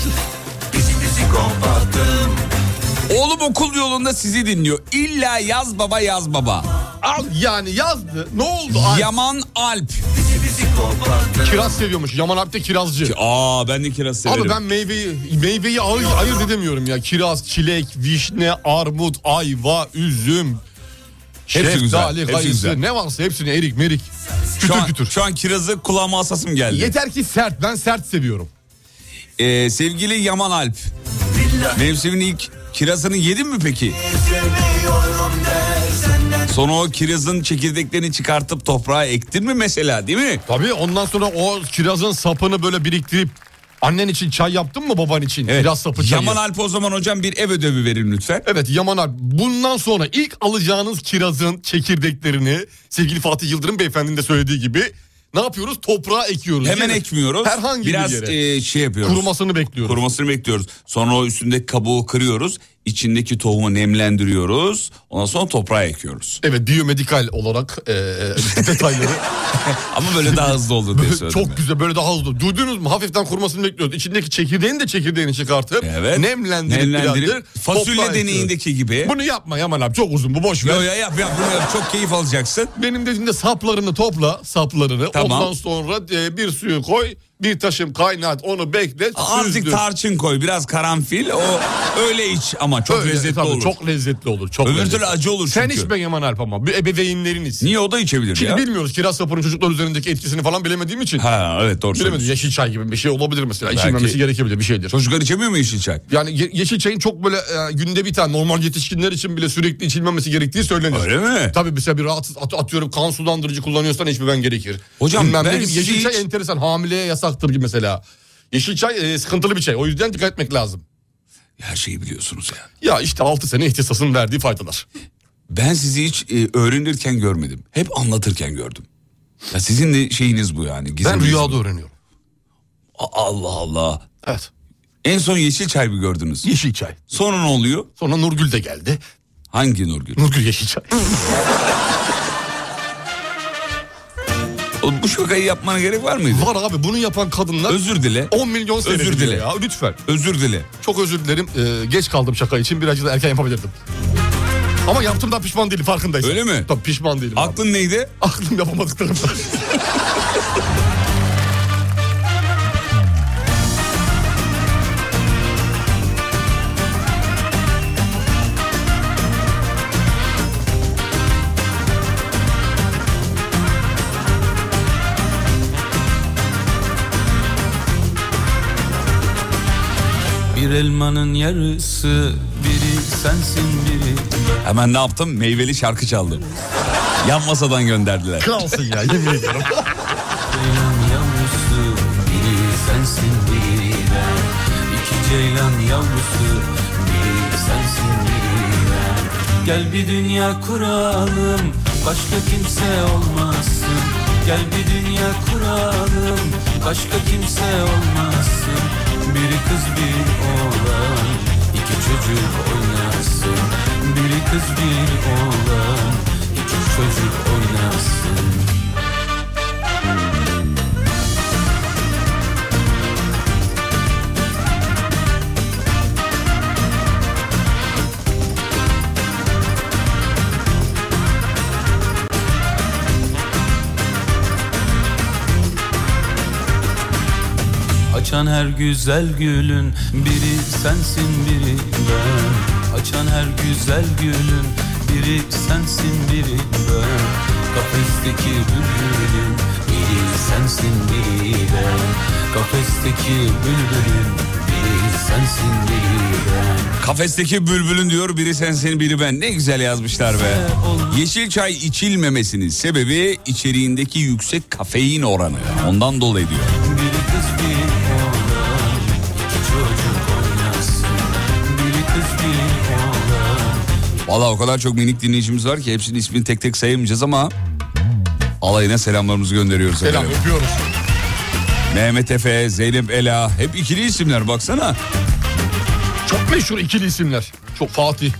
Oğlum okul yolunda sizi dinliyor. İlla yaz baba yaz baba.
Al yani yazdı. Ne oldu? Ay,
Yaman Alp.
kiraz seviyormuş. Yaman Alp de kirazcı.
Aa ben de kiraz severim.
Abi ben meyveyi meyveyi ayır, ayırt edemiyorum ya. Kiraz, çilek, vişne, armut, ayva, üzüm,
Hepsi güzel,
şeftali,
hepsi
kayısı
güzel.
ne varsa hepsini erik merik.
şu
Kütür
an,
kütür.
Şu an kirazı kulağıma asasım geldi.
Yeter ki sert. Ben sert seviyorum.
Ee, sevgili Yaman Alp. Mevsimin ilk kirazını yedin mi peki? Sonra o kirazın çekirdeklerini çıkartıp toprağa ektin mi mesela değil mi?
Tabii ondan sonra o kirazın sapını böyle biriktirip annen için çay yaptın mı baban için? Kiraz sapı çayı.
Yaman Alp o zaman hocam bir ev ödevi verin lütfen.
Evet Yaman abi bundan sonra ilk alacağınız kirazın çekirdeklerini sevgili Fatih Yıldırım beyefendinin de söylediği gibi ne yapıyoruz? Toprağa ekiyoruz.
Hemen
Yani
ekmiyoruz.
Herhangi
Biraz
bir yere.
e, şey yapıyoruz.
Kurumasını bekliyoruz.
Kurumasını bekliyoruz. Sonra o üstündeki kabuğu kırıyoruz. İçindeki tohumu nemlendiriyoruz. Ondan sonra toprağa ekiyoruz.
Evet biyomedikal olarak e, detayları.
Ama böyle daha hızlı oldu diye
Böyle
söyledim.
çok güzel böyle daha hızlı. Duydunuz mu? Hafiften kurumasını bekliyoruz. İçindeki çekirdeğini de çekirdeğini çıkartıp
Evet.
nemlendirip,
Nemlendirip,
bilendir,
fasulye
toprağa
deneyindeki gibi.
ekiyoruz. Bunu yapma Yaman abi çok uzun bu boş ver.
Yo, ya yap yap bunu yap. Çok keyif alacaksın.
Benim dediğimde saplarını topla saplarını.
Tamam.
Ondan sonra e, bir suyu koy bir taşım kaynat onu bekle.
Azıcık
süzdür.
tarçın koy biraz karanfil o öyle iç ama çok
Öyle,
lezzetli
tabii,
olur.
Çok lezzetli olur. Çok
Öbür
lezzetli.
türlü acı olur
Sen
çünkü.
içme Yaman Alp ama. Bir ebeveynlerin içsin.
Niye o da içebilir
Şimdi
ya?
bilmiyoruz kiraz sapının çocuklar üzerindeki etkisini falan bilemediğim için.
Ha evet doğru
Bilemedim
söylüyorsun.
yeşil çay gibi bir şey olabilir mesela.
Belki-
İçilmemesi gerekebilir bir şeydir.
Çocuklar içemiyor mu yeşil çay?
Yani ye- yeşil çayın çok böyle e, günde bir tane normal yetişkinler için bile sürekli içilmemesi gerektiği söylenir.
Öyle mi?
Tabii mesela bir rahatsız at- atıyorum kan sulandırıcı kullanıyorsan içmemen gerekir.
Hocam
Bilmem ne
ben
gibi. yeşil
hiç-
çay enteresan hamileye yasaktır gibi mesela. Yeşil çay e, sıkıntılı bir çay. O yüzden dikkat etmek lazım.
Her şeyi biliyorsunuz ya.
Ya işte 6 sene ihtisasın verdiği faydalar.
Ben sizi hiç e, öğrenirken görmedim. Hep anlatırken gördüm. Ya sizin de şeyiniz bu yani.
Ben
gizeminiz
rüyada
bu.
öğreniyorum.
A- Allah Allah.
Evet.
En son yeşil çay mı gördünüz?
Yeşil çay.
Sonra ne oluyor?
Sonra Nurgül de geldi.
Hangi Nurgül?
Nurgül yeşil çay.
O, bu şakayı yapmana gerek var mıydı?
Var abi bunu yapan kadınlar
Özür dile.
10 milyon sene
Özür
özür
dile.
ya lütfen.
Özür dile.
Çok özür dilerim. Ee, geç kaldım şaka için. Birazcık da erken yapabilirdim. Ama yaptığımdan pişman değilim farkındayım.
Öyle mi?
Tabii pişman değilim. abi.
Aklın neydi?
Aklım yapamadıklarım.
Bir elmanın yarısı biri sensin biri
Hemen ne yaptım? Meyveli şarkı çaldım. Yan masadan gönderdiler.
Kalsın ya yemin ediyorum.
Ceylan yavrusu biri sensin biri ben İki ceylan yavrusu biri sensin biri ben Gel bir dünya kuralım başka kimse olmasın Gel bir dünya kuralım başka kimse olmasın Biri kız bir oğlan iki çocuk oynasın Biri kız bir oğlan iki çocuk oynasın Açan her güzel gülün biri sensin biri ben Açan her güzel gülün biri sensin biri ben Kafesteki bülbülün biri sensin biri ben Kafesteki bülbülün biri sensin biri ben
Kafesteki bülbülün diyor biri sensin biri ben. Ne güzel yazmışlar be. Yeşil çay içilmemesinin sebebi içeriğindeki yüksek kafein oranı. Ondan dolayı diyor.
Biri kız bir oğlan iki çocuk oynasın Biri kız bir oğlan
Valla o kadar çok minik dinleyicimiz var ki hepsinin ismini tek tek sayamayacağız ama alayına selamlarımızı gönderiyoruz.
Selam
efendim.
öpüyoruz.
Mehmet Efe, Zeynep Ela hep ikili isimler baksana.
Çok meşhur ikili isimler. Çok Fatih.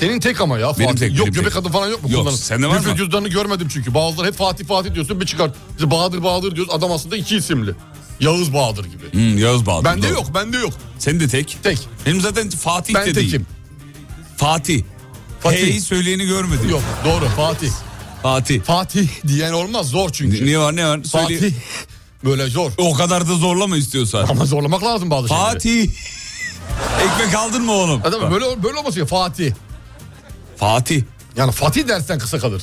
Senin tek ama ya Fatih.
tek,
yok
benim
göbek
tek.
adı falan yok mu?
Yok,
Kullanın.
sende var
Nüfus
mı?
cüzdanını görmedim çünkü. Bazıları hep Fatih Fatih diyorsun bir çıkart. İşte Bahadır Bahadır diyoruz. Adam aslında iki isimli. Yağız Bahadır gibi.
Hmm, Yağız Bahadır.
Bende
doğru.
yok, bende yok.
Senin de tek.
Tek.
Benim zaten Fatih
Ben
de değil.
tekim.
Fatih.
Fatih.
Hey söyleyeni görmedim.
Yok, doğru Fatih.
Fatih.
Fatih diyen olmaz zor çünkü.
Ne var ne var? Söyle-
Fatih böyle zor.
O kadar da zorlama istiyorsan.
Ama zorlamak lazım bazı şeyleri.
Fatih. Ekmek aldın mı oğlum?
Adam böyle böyle olması ya Fatih.
Fatih.
Yani Fatih dersen kısa kalır.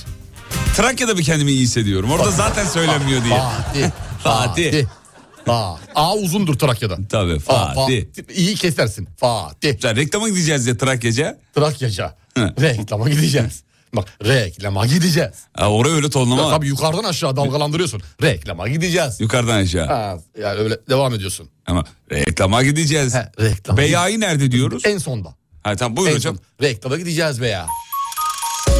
Trakya'da bir kendimi iyi hissediyorum. Orada zaten söylenmiyor diye.
Fatih.
Fatih.
Fa. A uzundur Trakya'da.
Tabii,
Fa-
Fatih.
Fa- İyi kesersin. Fatih.
Güzel, reklama gideceğiz ya Trakya'ca.
Trakyaca.
Hı.
Reklama gideceğiz. Bak reklama gideceğiz.
Ha, oraya öyle tonlama. var.
Tabii yukarıdan aşağı dalgalandırıyorsun. Reklama gideceğiz.
Yukarıdan aşağı.
Ha, yani öyle devam ediyorsun.
Ama reklama gideceğiz.
He, reklama.
Beyayı nerede diyoruz?
En sonda.
Ha, tamam buyur
En
hocam.
son. Reklama gideceğiz be ya.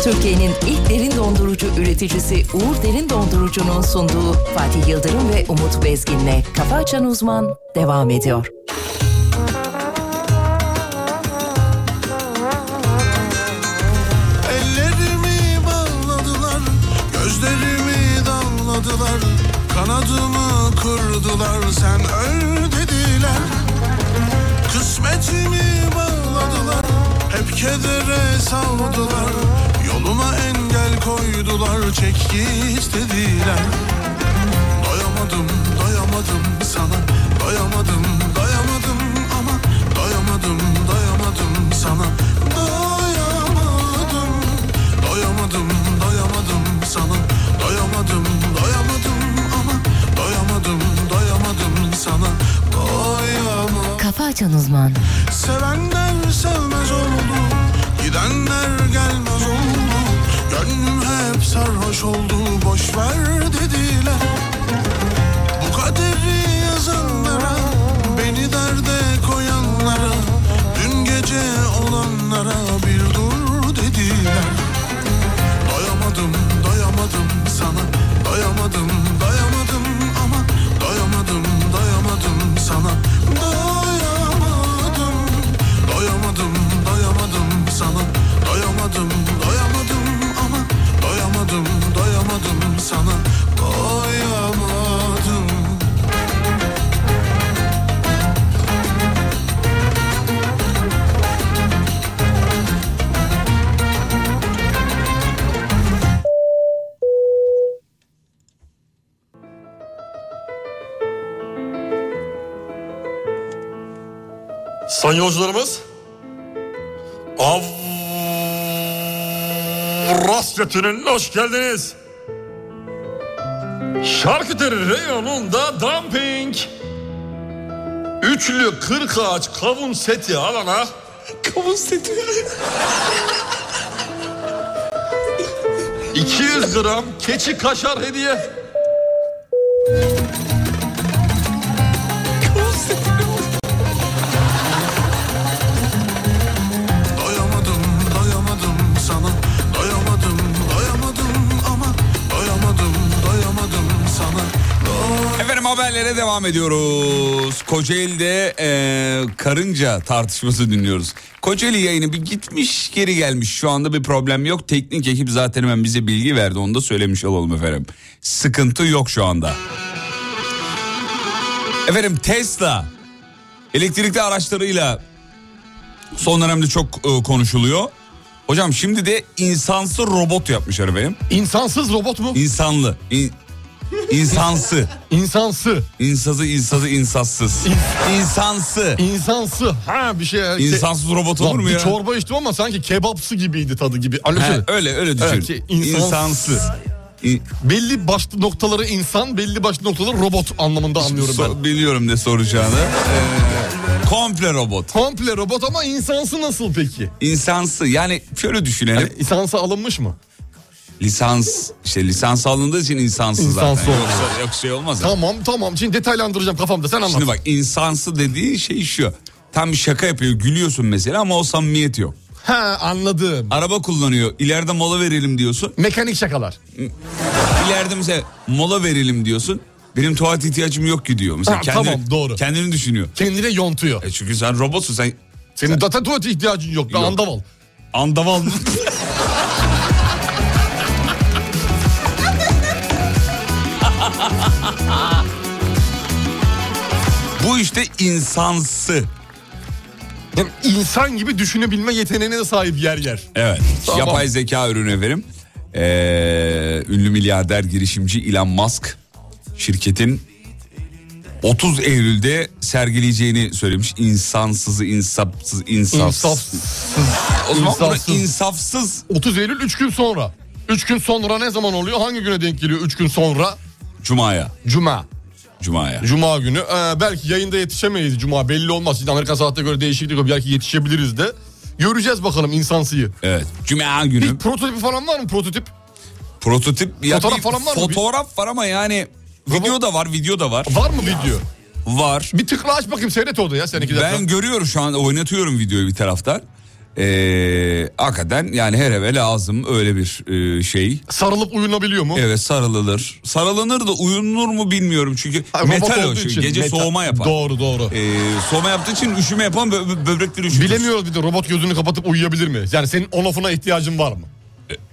Türkiye'nin ilk derin dondurucu üreticisi Uğur Derin Dondurucu'nun sunduğu Fatih Yıldırım ve Umut Bezgin'le Kafa Açan Uzman devam ediyor.
bağladılar Kanadımı kırdılar sen öl dediler Kısmetimi bağladılar Hep kedere savdular Yoluma engel koydular Çek git dediler Doyamadım doyamadım sana Doyamadım doyamadım ama Doyamadım doyamadım sana Doyamadım Doyamadım doyamadım sana Doyamadım doyamadım ama Doyamadım doyamadım sana Doyamadım
Kafa Açan Uzman.
Sevenler sevmez oldu Gidenler gelmez oldu Gönlüm hep sarhoş oldu Boş ver dediler Bu kaderi yazanlara Beni derde koyanlara Dün gece olanlara Bir dur dediler Doyamadım doyamadım sana Doyamadım doyamadım ama Doyamadım doyamadım sana Doyamadım Doyamadım doyamadım sana Doyamadım doyamadım ama Doyamadım doyamadım sana Doyamadım
Sayın yolcularımız. Avrasya Tüneli'ne hoş geldiniz. Şarküteri reyonunda dumping. Üçlü kırk ağaç kavun seti alana. Kavun seti. 200 gram keçi kaşar hediye.
Doyamadım doyamadım sana Doyamadım doyamadım ama Doyamadım doyamadım sana
Efendim haberlere devam ediyoruz. Kocaeli'de e, karınca tartışması dinliyoruz. Kocaeli yayını bir gitmiş geri gelmiş. Şu anda bir problem yok. Teknik ekip zaten hemen bize bilgi verdi. Onu da söylemiş olalım efendim. Sıkıntı yok şu anda. Efendim Tesla elektrikli araçlarıyla son dönemde çok e, konuşuluyor. Hocam şimdi de insansı robot yapmışlar efendim.
İnsansız robot mu?
İnsanlı. İn, insansı.
İnsansı.
İnsazı insazı insansız. İnsansı.
İnsansı. Ha bir şey.
İnsansız robot olur
Lan
mu
bir
ya?
çorba içtim ama sanki kebapsı gibiydi tadı gibi. Alo
He,
şöyle,
öyle öyle düşün.
Evet, şey, insans-
İnsansı. İ-
Belli başlı noktaları insan, belli başlı noktaları robot anlamında anlıyorum ben.
So- biliyorum ne soracağını. Ee, komple robot.
Komple robot ama insansı nasıl peki?
İnsansı yani şöyle düşünelim.
Yani insansa alınmış mı?
lisans işte lisans alındığı için insansı,
İnsansı
zaten.
olmuyor.
Yoksa, yoksa şey olmaz. ya.
Tamam tamam şimdi detaylandıracağım kafamda sen anlat.
Şimdi bak insansı dediği şey şu. Tam bir şaka yapıyor gülüyorsun mesela ama o samimiyet yok.
Ha anladım.
Araba kullanıyor ileride mola verelim diyorsun.
Mekanik şakalar.
İleride mesela mola verelim diyorsun. Benim tuvalet ihtiyacım yok ki diyor. Mesela
Ha,
kendini,
tamam, doğru.
Kendini düşünüyor.
Kendine yontuyor.
E çünkü sen robotsun sen
Senin data tuvalete ihtiyacın yok. Ben
Yok.
andaval.
andaval Bu işte insansı.
Yani insan gibi düşünebilme yeteneğine de sahip yer yer.
Evet.
Tamam.
Yapay zeka ürünü efendim. Ee, ünlü milyarder girişimci Elon Musk şirketin 30 Eylül'de sergileyeceğini söylemiş. İnsansızı, insafsız, insafsız.
İnsafsız.
O zaman bunu
insafsız.
insafsız
30 Eylül 3 gün sonra. 3 gün sonra ne zaman oluyor? Hangi güne denk geliyor 3 gün sonra?
Cuma'ya.
Cuma.
Cuma'ya.
Cuma günü. Ee, belki yayında yetişemeyiz Cuma belli olmaz. Şimdi Amerika saatine göre değişiklik yok. Belki yetişebiliriz de. Göreceğiz bakalım insansıyı.
Evet. Cuma günü.
Bir prototipi falan var mı prototip?
Prototip ya
Fotoğraf
bir
falan var mı?
Fotoğraf var ama yani video da var, video da var.
Var mı video?
Var.
Bir tıkla aç bakayım seyret orada ya sen iki dakika.
Ben görüyorum şu anda oynatıyorum videoyu bir taraftan. Ee, hakikaten yani her eve lazım öyle bir e, şey.
Sarılıp uyunabiliyor mu?
Evet sarılılır. Sarılınır da uyunur mu bilmiyorum çünkü
Ha, robot
metal o
olduğu
çünkü
için
gece
metal.
soğuma yapar.
Doğru doğru.
Ee, soğuma yaptığı için üşüme yapan bö- bö- böbrekleri üşütür.
Bilemiyoruz bir de robot gözünü kapatıp uyuyabilir mi? Yani senin on off'una ihtiyacın var mı?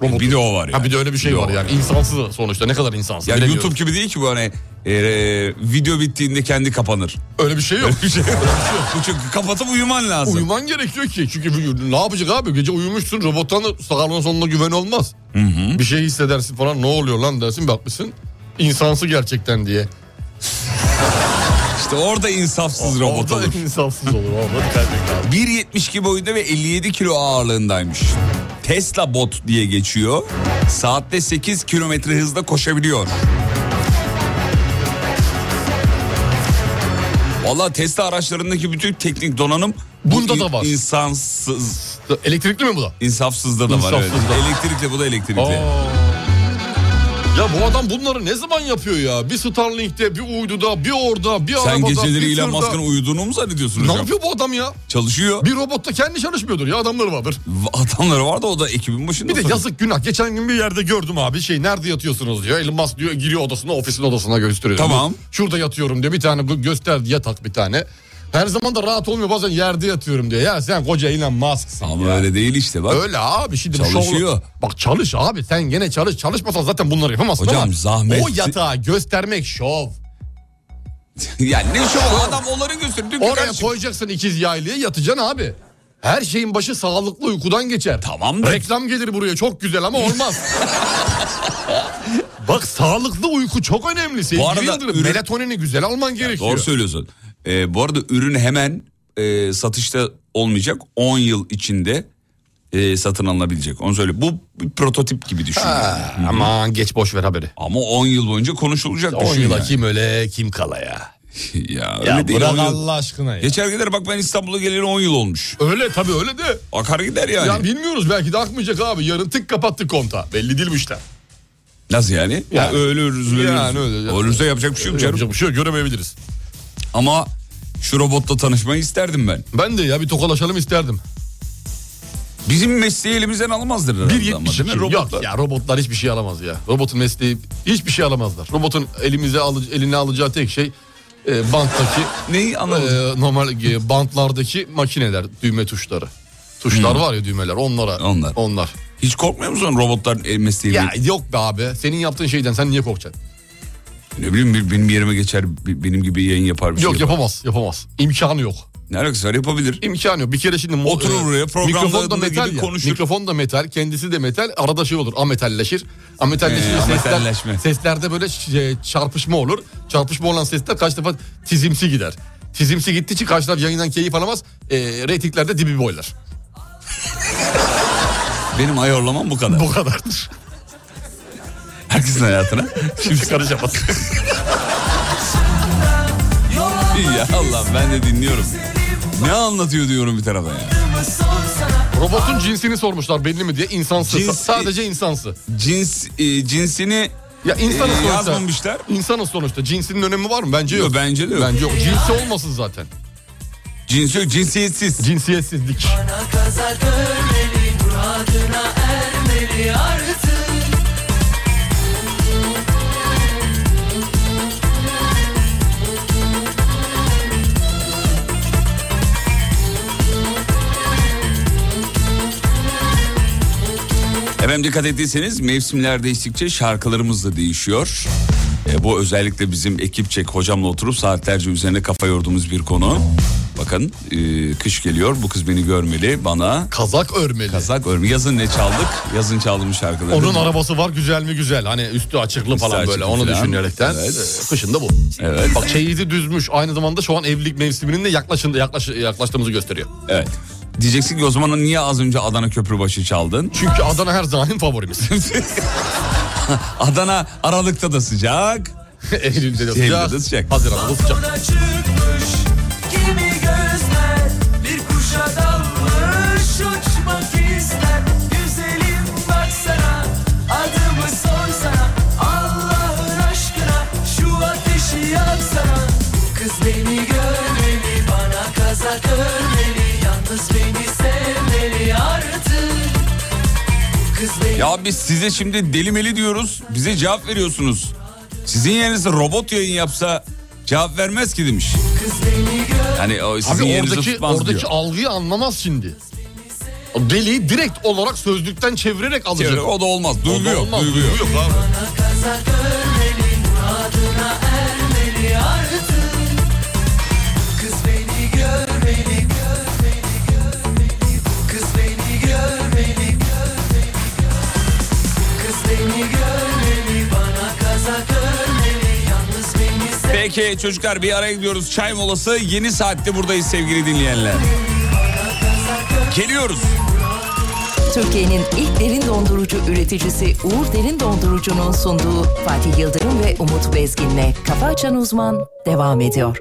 Robot.
E, Bir de o var yani.
Ha bir de öyle bir şey
Bir de o
var
var
yani. İnsansız sonuçta ne kadar insansız.
Yani
bilemiyorum.
YouTube gibi değil ki bu hani e, e, video bittiğinde kendi kapanır.
Öyle bir şey yok.
Öyle bir şey. Bu Çünkü kapatıp uyuman lazım.
Uyuman gerekiyor ki. Çünkü bu- ne yapacak abi? Gece uyumuşsun robottan da sağlığın sonuna güven olmaz. Bir şey hissedersin falan ne oluyor lan dersin bakmışsın. İnsansı gerçekten diye.
İşte orada insafsız robot
Orada
olur.
insafsız olur. Orada dikkat etmek lazım.
1.72 boyunda ve 57 kilo ağırlığındaymış. Tesla bot diye geçiyor. Saatte 8 kilometre hızla koşabiliyor. Valla Tesla araçlarındaki bütün teknik donanım bu
Bunda
in-
da var.
insansız,
Elektrikli mi bu da?
insafsızda da var. Evet.
İnsafsızda.
Elektrikli bu da elektrikli.
Aa. Ya bu adam bunları ne zaman yapıyor ya? Bir Starlink'te, bir uyduda, bir orada, bir
Sen
arabada,
geceleri
bir
Elon
tırda.
Musk'ın uyuduğunu mu zannediyorsun
Ne
hocam?
yapıyor bu adam ya?
Çalışıyor.
Bir robotta kendi çalışmıyordur ya adamları vardır.
Adamları var da o da ekibin başında.
Bir de
sonuçta.
yazık günah. Geçen gün bir yerde gördüm abi şey nerede yatıyorsunuz diyor. Elon Musk diyor giriyor odasına ofisin odasına gösteriyor.
Tamam.
Şurada yatıyorum diyor bir tane bu gösterdi yatak bir tane. Her zaman da rahat olmuyor bazen yerde yatıyorum diyor. Ya sen koca Elon Musk'sın
Ama
ya.
öyle değil işte bak.
Öyle abi şimdi bu şovla-
Çalışıyor.
Bak çalış abi sen gene çalış. Çalışmasan zaten bunları yapamazsın
Hocam
ama
zahmet-
O yatağı göstermek şov.
yani ne şu adam onları gösteriyor. Diyor ki
Oraya
kardeşim,
koyacaksın ikiz yaylığı yatacaksın abi. Her şeyin başı sağlıklı uykudan geçer.
Tamam da-
Reklam gelir buraya çok güzel ama olmaz. Bak sağlıklı uyku çok önemli. Sevgili
Bu arada
Yıldırım,
ürün-
melatonini güzel alman gerekiyor.
Doğru söylüyorsun. Ee, bu arada ürün hemen e, satışta olmayacak. 10 yıl içinde e, satın alınabilecek. Onu söyle. Bu bir prototip gibi düşün.
Ha, Aman geç boş ver haberi.
Ama 10 yıl boyunca konuşulacak
10
düşün.
yıla
yani.
kim öyle kim kala ya.
ya, öyle
Ya
değil,
bırak
10 yıl.
Allah aşkına ya.
Geçer gider bak ben İstanbul'a geleli 10 yıl olmuş.
Öyle tabii öyle de.
Akar gider yani.
Ya bilmiyoruz belki de akmayacak abi. Yarın tık kapattık konta. Belli değil bu işler.
Nasıl yani? Ya
Yani.
ölürüz ölürüz.
Yani öyle.
Ölürse yapacak bir şey yok canım.
Yapacak bir şey yok, göremeyebiliriz.
Ama şu robotla tanışmayı isterdim ben.
Ben de ya bir tokalaşalım isterdim.
Bizim mesleği elimizden alamazdır herhalde. ama, değil mi?
1.72
Robotlar.
Yok ya robotlar hiçbir şey alamaz ya. Robotun mesleği hiçbir şey alamazlar. Robotun elimize alı, eline alacağı tek şey e, banttaki
Neyi anlamadım?
e, normal e, bantlardaki makineler, düğme tuşları. Tuşlar var ya düğmeler onlara.
Hmm. Onlar.
Onlar.
Hiç korkmuyor musun robotların el mesleği?
Ya yok be abi. Senin yaptığın şeyden sen niye korkacaksın?
Ne bileyim bir- benim yerime geçer bi- benim gibi yayın yapar bir
yok
şey. yapar. Oh,
yapamaz. Yapamaz. İmkanı yok.
Ne alakası var yapabilir.
İmkanı yok. Bir kere şimdi mo-
Oturur
e,
buraya, programlarında
mikrofon da metal
gidip
ya.
konuşur.
Mikrofon da metal, kendisi de metal. Arada şey olur, ametalleşir. Ametalleşince
Ee, ametalleşme.
sesler, seslerde böyle ş- şey, çarpışma olur. Çarpışma olan sesler kaç defa tizimsi gider. Tizimsi gittiği için karşı taraf yayından keyif alamaz. E, reytinglerde dibi boylar.
Benim ayarlamam bu kadar.
Bu kadardır.
Herkesin hayatına. Şimdi
Karışamaz.
ya Allah ben de dinliyorum. Ne anlatıyor diyorum bir tarafa ya.
Robotun cinsini sormuşlar belli mi diye. İnsansı.
Cins-
Sa- sadece insansı.
Cins e, cinsini
Ya insanız
e,
sonuçta.
yazmamışlar.
İnsanız sonuçta. Cinsinin önemi var mı? Bence yok.
Yok, bence de yok.
Bence yok. Cinsi olmasın zaten.
Cins yok, cinsiyetsiz.
Cinsiyetsizlik.
Efendim dikkat ettiyseniz mevsimler değiştikçe şarkılarımız da değişiyor. E, bu özellikle bizim ekipçek hocamla oturup saatlerce üzerine kafa yorduğumuz bir konu. Bakın e, kış geliyor bu kız beni görmeli bana
Kazak örmeli.
kazak örme. Yazın ne çaldık? Yazın çaldığımız şarkıları.
Onun
Değil mi?
arabası var güzel mi güzel. Hani üstü açıklı falan
açıklı
böyle onu
falan.
düşünerekten.
Evet.
e, Kışın da bu.
Evet.
Bak şey- çeyizi düzmüş. Aynı zamanda şu an evlilik mevsiminin de yaklaşın, yaklaş, yaklaştığımızı gösteriyor.
Evet. Diyeceksin ki o zaman niye az önce Adana Köprübaşı çaldın?
Çünkü Adana her zaman favorimiz.
Adana Aralık'ta da sıcak.
Eylül'de de
Eylül'de
sıcak.
de sıcak.
Haziran'da da sıcak.
çıkmış kimi gözler bir kuşa dalmış uçmak ister güzelim baksana adımı sorsana Allah'ın aşkına şu ateşi yaksana kız beni görmeli bana kazak örmeli yalnız beni sevmeli artık kız beni
Ya biz size şimdi deli meli diyoruz. Bize cevap veriyorsunuz. Sizin yerinize robot yayın yapsa cevap vermez ki demiş. Yani Hani o sizin
Abi
yerinizi
oradaki,
tutmaz
oradaki
diyor.
algıyı anlamaz şimdi. Deliği direkt olarak sözlükten çevirerek alacak.
Çevre- o da olmaz.
O da
Duygu yok.
olmaz,
Duygu yok.
abi.
Peki çocuklar bir araya gidiyoruz. Çay molası yeni saatte buradayız sevgili dinleyenler. Geliyoruz.
Türkiye'nin ilk derin dondurucu üreticisi Uğur Derin Dondurucu'nun sunduğu Fatih Yıldırım ve Umut Bezgin'le Kafa Açan Uzman devam ediyor.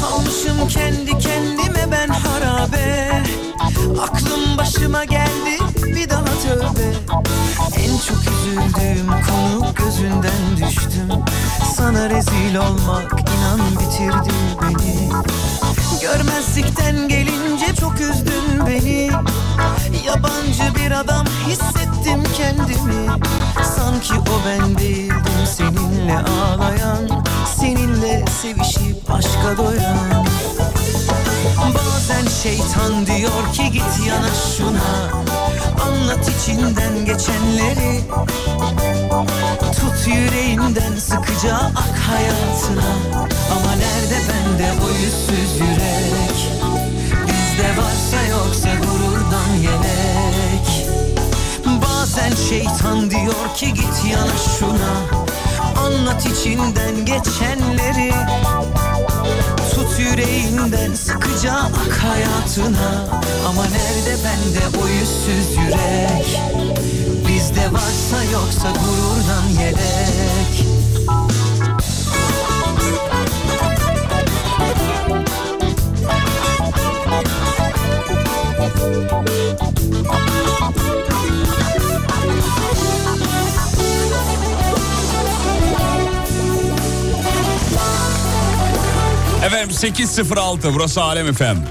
Kalmışım kendi kendime ben harabe Aklım başıma geldi bir daha tövbe En çok üzüldüğüm konu gözünden düştüm Sana rezil olmak inan bitirdi beni Görmezlikten gelince çok üzdün beni Yabancı bir adam hissettim kendimi Sanki o ben değildim seninle ağlayan Seninle sevişip aşka doyan Bazen şeytan diyor ki git yana şuna Anlat içinden geçenleri Tut yüreğinden sıkıca ak hayatına Ama nerede bende o yüzsüz yürek Bizde varsa yoksa gururdan yelek Bazen şeytan diyor ki git yana şuna Anlat içinden geçenleri Tut yüreğinden sıkıca ak hayatına Ama nerede bende o yüzsüz yürek Bizde varsa yoksa gururdan yelek
Efendim 8.06 burası Alem Efem.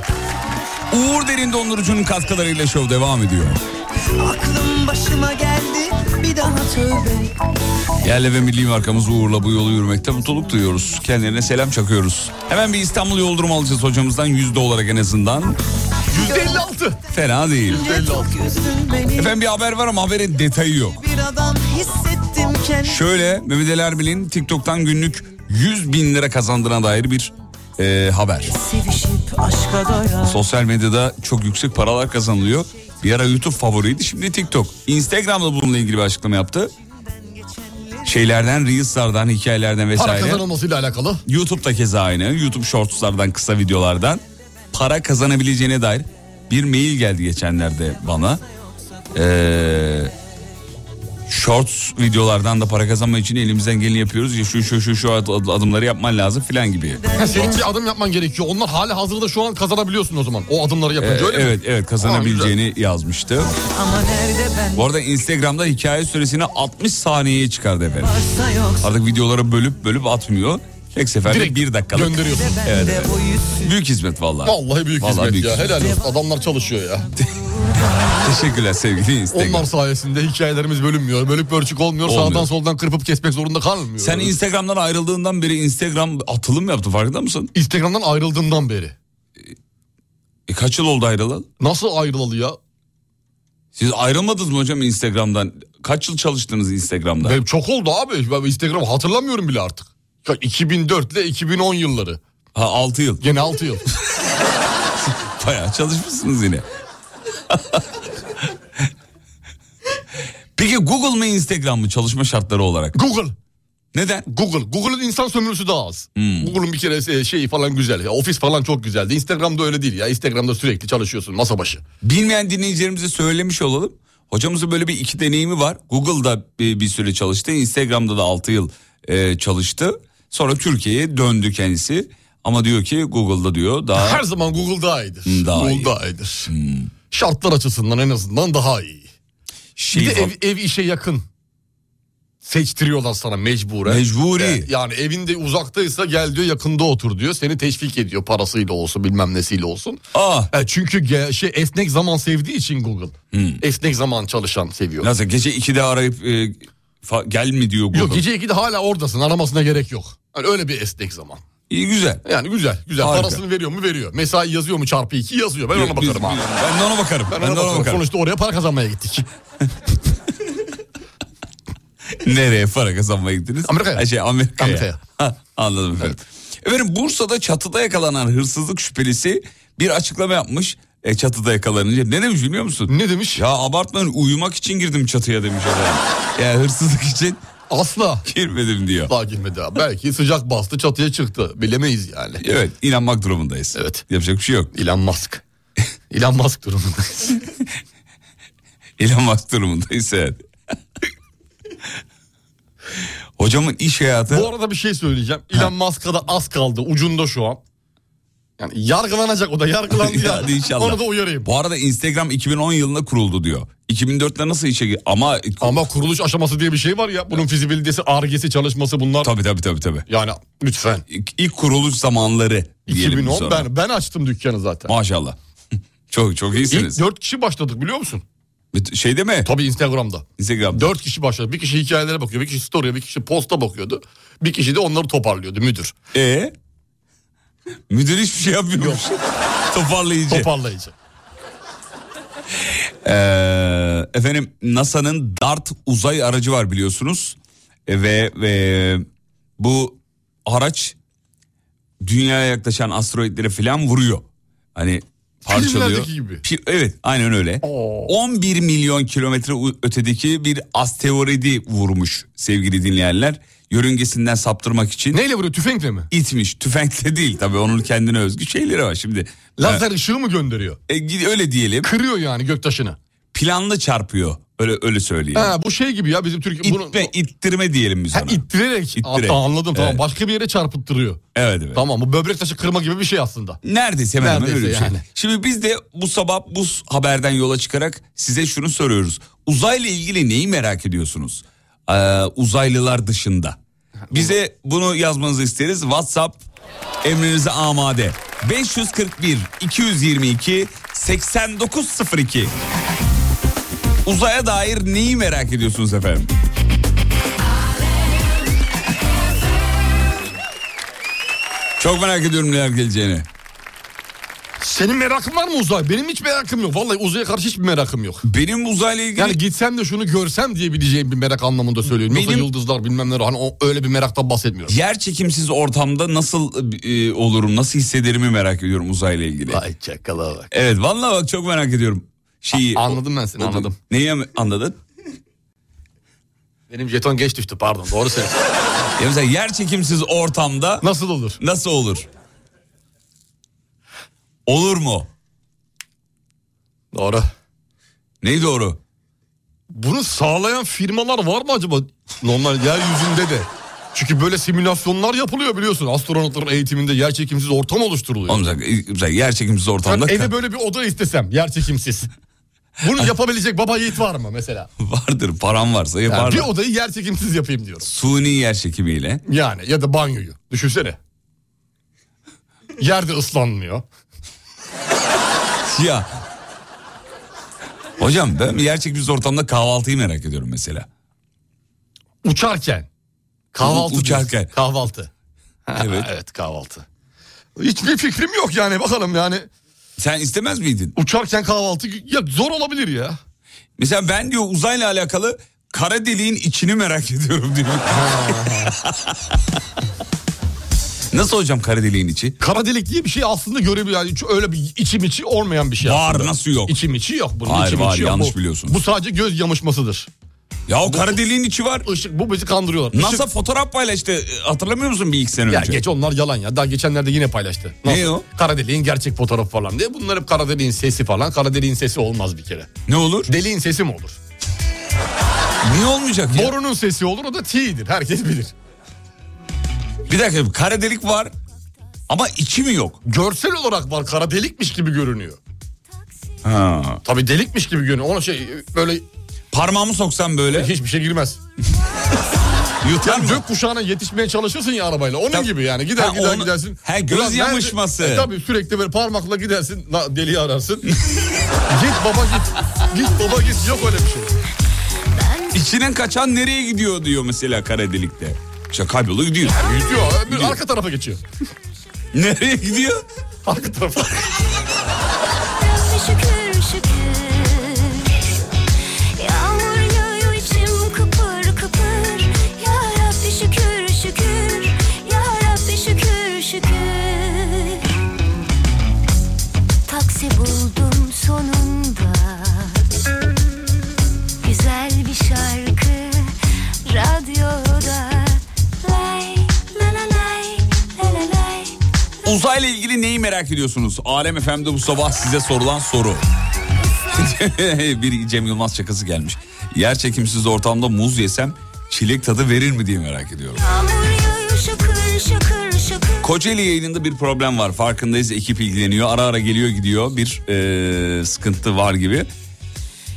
Uğur Derin Dondurucu'nun katkılarıyla şov devam ediyor.
Aklım başıma geldi bir daha tövbe
Yerli ve milli markamız Uğur'la bu yolu yürümekte mutluluk duyuyoruz. Kendilerine selam çakıyoruz. Hemen bir İstanbul yol durumu alacağız hocamızdan yüzde olarak en azından.
%56.
Fena değil.
Ne çok üzdün beni
Efendim bir haber var ama haberin detayı yok.
Bir adam hissettim kendimi
Şöyle Mehmet Ali Erbil'in TikTok'tan günlük 100 bin lira kazandığına dair bir e, haber.
Sevişip aşka doyan
Sosyal medyada çok yüksek paralar kazanılıyor. Bir ara YouTube favoriydi şimdi TikTok. Instagram'da bununla ilgili bir açıklama yaptı. Şeylerden, Reels'lardan, hikayelerden
Para
vesaire.
kazanılmasıyla alakalı.
YouTube'da keza aynı. YouTube Shorts'lardan, kısa videolardan para kazanabileceğine dair bir mail geldi geçenlerde bana. Ee, shorts videolardan da para kazanmak için elimizden geleni yapıyoruz. Ya şu şu şu şu ad- ad- adımları yapman lazım filan gibi.
Ha, Senin bir adım yapman gerekiyor. Onlar hali hazırda şu an kazanabiliyorsun o zaman. O adımları yapınca
Ee,
öyle mi?
evet evet kazanabileceğini yazmıştı.
Ama nerede ben
Bu arada Instagram'da hikaye süresini 60 saniyeye çıkardı efendim.
varsa yoksa
Artık videoları bölüp bölüp atmıyor. Tek seferde
Direkt
bir dakikalık.
gönderiyorsun.
Evet,
bende
evet.
o yüzsüz
Büyük hizmet vallahi.
Vallahi büyük
Vallahi
hizmet
büyük
ya.
hizmet.
Helal olsun. Adamlar çalışıyor ya.
Teşekkürler sevgili Instagram.
Onlar sayesinde hikayelerimiz bölünmüyor. Bölük bölçük olmuyor.
Olmuyor.
Sağdan soldan kırpıp kesmek zorunda kalmıyor.
Sen Instagram'dan ayrıldığından beri Instagram atılım yaptı farkında mısın?
Instagram'dan ayrıldığımdan beri.
E, kaç yıl oldu ayrılalı?
Nasıl ayrılalı ya?
Siz ayrılmadınız mı hocam Instagram'dan? Kaç yıl çalıştınız Instagram'da?
Benim çok oldu abi. Ben Instagram'ı hatırlamıyorum bile artık. Ya 2004 ile 2010 yılları.
Ha 6 yıl.
Gene 6 yıl.
Bayağı çalışmışsınız yine. Peki Google mı Instagram mı çalışma şartları olarak?
Google.
Neden? Hmm.
Google. Google'ın insan sömürüsü daha az. Google'ın bir kere e, şeyi falan güzel. Ya, Ofis falan çok güzeldi. Instagram'da öyle değil ya. Instagram'da sürekli çalışıyorsun masa başı.
Bilmeyen dinleyicilerimize söylemiş olalım. Hocamızın böyle bir iki deneyimi var. Google'da bir, bir süre çalıştı. Instagram'da da 6 yıl e, çalıştı. Sonra Türkiye'ye döndü kendisi. Ama diyor ki Google'da diyor daha...
Her zaman Google daha iyidir.
Hmm, daha
Google
iyi. Hmm.
daha iyidir. Şartlar açısından en azından daha iyi.
şey
Bir de
falan-
ev, ev işe yakın. seçtiriyorlar sana mecburen.
Mecburi.
E, Yani evinde uzaktaysa gel diyor yakında otur diyor. Seni teşvik ediyor parasıyla olsun bilmem nesiyle olsun.
Aa.
E, çünkü ge- şey esnek zaman sevdiği için Google. Esnek zaman çalışan seviyor.
Hmm. Nasıl gece 2'de arayıp e, fa- gel mi diyor Google.
Yok gece 2'de hala oradasın aramasına gerek yok. Yani öyle bir esnek zaman.
İyi güzel.
Yani güzel güzel
Harika.
parasını veriyor mu veriyor. Mesai yazıyor mu çarpı 2 yazıyor. Ben ona
Biz-
bakarım abi.
Ben de ona bakarım.
Ben, ona bakarım. Sonuçta oraya para kazanmaya gittik.
Nereye para kazanmaya gittiniz?
Amerika'ya.
Ha, Şey, Amerika'ya.
Amerika'ya.
Ha, Anladım efendim. Efendim Bursa'da çatıda yakalanan hırsızlık şüphelisi bir açıklama yapmış. E, çatıda yakalanınca ne demiş biliyor musun?
ne demiş?
Ya abartmayın uyumak için girdim çatıya demiş adam. ya hırsızlık için
Asla.
girmedim diyor.
Daha girmedi abi. Belki sıcak bastı çatıya çıktı. Bilemeyiz yani.
Evet inanmak durumundayız.
Evet.
Yapacak bir şey yok.
Elon Musk. Elon Musk durumundayız.
İnanmak durumundayız yani. Hocamın iş hayatı...
Bu arada bir şey söyleyeceğim. Elon Musk'a da az kaldı. Ucunda şu an. Yani yargılanacak o da yargılandı ya.
Hadi inşallah.
Onu da uyarayım.
Bu arada Instagram 2010 yılında kuruldu diyor. 2004'te nasıl işe gir- ama
Ama kuruluş aşaması diye bir şey var ya. Bunun fizibilitesi, argesi, çalışması bunlar.
tabii tabii tabii tabii.
Yani lütfen.
İlk, ilk kuruluş zamanları diyelim
2010
sonra.
ben ben açtım dükkanı zaten.
Maşallah. çok çok
İlk
iyisiniz.
4 kişi başladık biliyor musun?
Şeyde mi?
Tabii Instagram'da.
Instagram.
4 kişi başladı. Bir kişi hikayelere bakıyor, bir kişi story'e, bir kişi posta bakıyordu. Bir kişi de onları toparlıyordu müdür.
E Müdür hiçbir şey yapmıyormuş. Toparlayıcı.
Toparlayıcı.
Ee, efendim NASA'nın DART uzay aracı var biliyorsunuz E, ve ve bu araç dünyaya yaklaşan asteroidlere falan vuruyor. Hani parçalıyor.
Filmlerdeki gibi.
Pi- Evet aynen öyle. 11 milyon kilometre u- ötedeki bir asteroidi vurmuş sevgili dinleyenler. Yörüngesinden saptırmak için
Neyle vuruyor? Tüfekle mi?
itmiş. Tüfekle değil tabii onun kendine özgü şeyleri var şimdi.
Lazer ışığı mı gönderiyor?
E, gid- öyle diyelim.
Kırıyor yani göktaşını.
Planlı çarpıyor. Öyle öyle söyleyeyim.
Ha, bu şey gibi ya bizim Türkiye... bunu-
İtme, ittirme diyelim biz
Ha,
ona.
ittirerek.
İttirerek.
Hatta anladım tamam.
Evet.
Başka bir yere çarpıttırıyor.
evet evet.
Tamam bu böbrek taşı kırma gibi bir şey aslında.
Neredeyse hemen hemen
Neredeyse
öyle bir şey.
yani.
Şimdi biz de bu sabah bu haberden yola çıkarak size şunu soruyoruz. Uzayla ilgili neyi merak ediyorsunuz? Ee, uzaylılar dışında. Bize bunu yazmanızı isteriz. WhatsApp emrinize amade. 541 222 8902. Uzaya dair neyi merak ediyorsunuz efendim? Çok merak ediyorum neler geleceğini.
Senin merakın var mı uzay? Benim hiç merakım yok. Vallahi uzaya karşı hiçbir merakım yok.
Benim uzayla ilgili
Yani gitsem de şunu görsem diyebileceğim bir merak anlamında söylüyorum. Yoksa
Benim-
yıldızlar bilmem neler hani o, öyle bir meraktan bahsetmiyorum.
yer çekimsiz ortamda nasıl e, olurum, nasıl hissederimi merak ediyorum uzayla ilgili.
Vay çakala bak.
Evet vallahi bak çok merak ediyorum. Şeyi
A- anladım ben seni,
o-
anladım.
Neyi am- anladın?
Benim jeton geç düştü pardon doğru söylüyorsun.
Ya mesela yer çekimsiz ortamda
Nasıl olur?
nasıl olur? Olur mu?
Doğru.
Neyi doğru?
Bunu sağlayan firmalar var mı acaba? Normal yeryüzünde de. Çünkü böyle simülasyonlar yapılıyor biliyorsun. Astronotların eğitiminde yer çekimsiz ortam oluşturuluyor.
Oğlum sen- sen yer çekimsiz
Ben
ortamda
eve böyle bir oda istesem yer çekimsiz. Bunu yapabilecek baba yiğit var mı mesela?
vardır param varsa
Yani
yaparlar.
bir odayı yer çekimsiz yapayım diyorum.
Suni yer çekimiyle.
Yani ya da banyoyu. Düşünsene. Yerde ıslanmıyor.
Ya. Hocam ben yer çekimsiz ortamda kahvaltıyı merak ediyorum mesela.
Uçarken. Kahvaltı.
Uçarken.
diyorsun. Kahvaltı.
Evet.
Evet. evet kahvaltı. Hiçbir fikrim yok yani bakalım yani.
Sen istemez miydin?
Uçarken kahvaltı ya zor olabilir ya.
Mesela ben diyor uzayla alakalı kara deliğin içini merak ediyorum diyor. Nasıl hocam kara deliğin içi?
Kara delik diye bir şey aslında görebiliyor. Yani hiç öyle bir içim içi olmayan bir şey.
Var nasıl yok?
İçim içi yok bunun.
Hayır,
içim
var,
içi yok.
yanlış
bu,
biliyorsunuz.
Bu sadece göz yamışmasıdır.
Ya o kara deliğin içi var.
Işık bu bizi kandırıyorlar. Işık-
NASA fotoğraf paylaştı. E, Hatırlamıyor musun bir iki sene
Ya
önce?
geç onlar yalan ya. Daha geçenlerde yine paylaştı.
Ne o?
Kara deliğin gerçek fotoğrafı falan diye. Bunlar hep kara deliğin sesi falan. Kara deliğin sesi olmaz bir kere.
Ne olur?
Deliğin sesi mi olur?
Niye olmayacak ya?
Borunun sesi olur o da T'dir. Herkes bilir.
Bir dakika kara delik var ama içi mi yok?
Görsel olarak var kara delikmiş gibi görünüyor.
Ha.
Tabii delikmiş gibi görünüyor. Ona şey böyle
Parmağımı soksam böyle.
hiçbir şey girmez.
Yutar
Yani
mı?
gök kuşağına yetişmeye çalışırsın ya arabayla. Onun gibi yani gider
Ha,
gider
onu-
gidersin.
Ha, göz
Ulan nerede-
yamışması.
E, tabii sürekli böyle parmakla gidersin la, deliği ararsın. git baba git. Git baba git yok öyle bir şey.
İçinden kaçan nereye gidiyor diyor mesela kara delikte. İşte kaybolu gidiyor.
Gidiyor. bir
Gidiyor.
Arka tarafa geçiyor.
Nereye gidiyor?
Arka tarafa.
Şükür şükür Yağmur yağıyor içim kıpır kıpır Ya Rabbi şükür şükür Ya Rabbi şükür şükür Taksi buldum sonunda Güzel bir şarkı radyoda Lay la la lay la la lay
Uzayla ilgili neyi merak ediyorsunuz? Alem FM'de bu sabah size sorulan soru. bir Cem Yılmaz şakası gelmiş. Yer çekimsiz ortamda muz yesem çilek tadı verir mi diye merak ediyorum.
Yağmur yağıyor şakır şakır şakır
Kocaeli yayınında bir problem var. Farkındayız ekip ilgileniyor. Ara ara geliyor gidiyor. Bir eee, sıkıntı var gibi.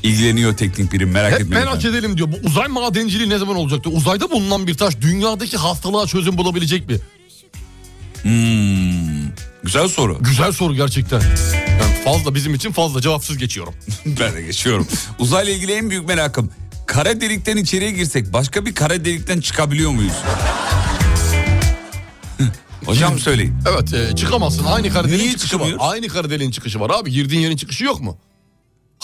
İlgileniyor teknik birim merak
Hep
etmeyin.
merak
efendim.
edelim diyor. Bu uzay madenciliği ne zaman olacaktı? Uzayda bulunan bir taş dünyadaki hastalığa çözüm bulabilecek mi?
Hmm, güzel soru.
Güzel soru gerçekten. Yani fazla bizim için fazla cevapsız geçiyorum.
ben de geçiyorum. Uzayla ilgili en büyük merakım. Kara delikten içeriye girsek başka bir kara delikten çıkabiliyor muyuz? Hocam söyleyin.
Evet e, çıkamazsın. Aynı kara
Niye
deliğin çıkışı var.
çıkamıyoruz?
Aynı kara deliğin çıkışı var abi. Girdiğin yerin çıkışı yok mu?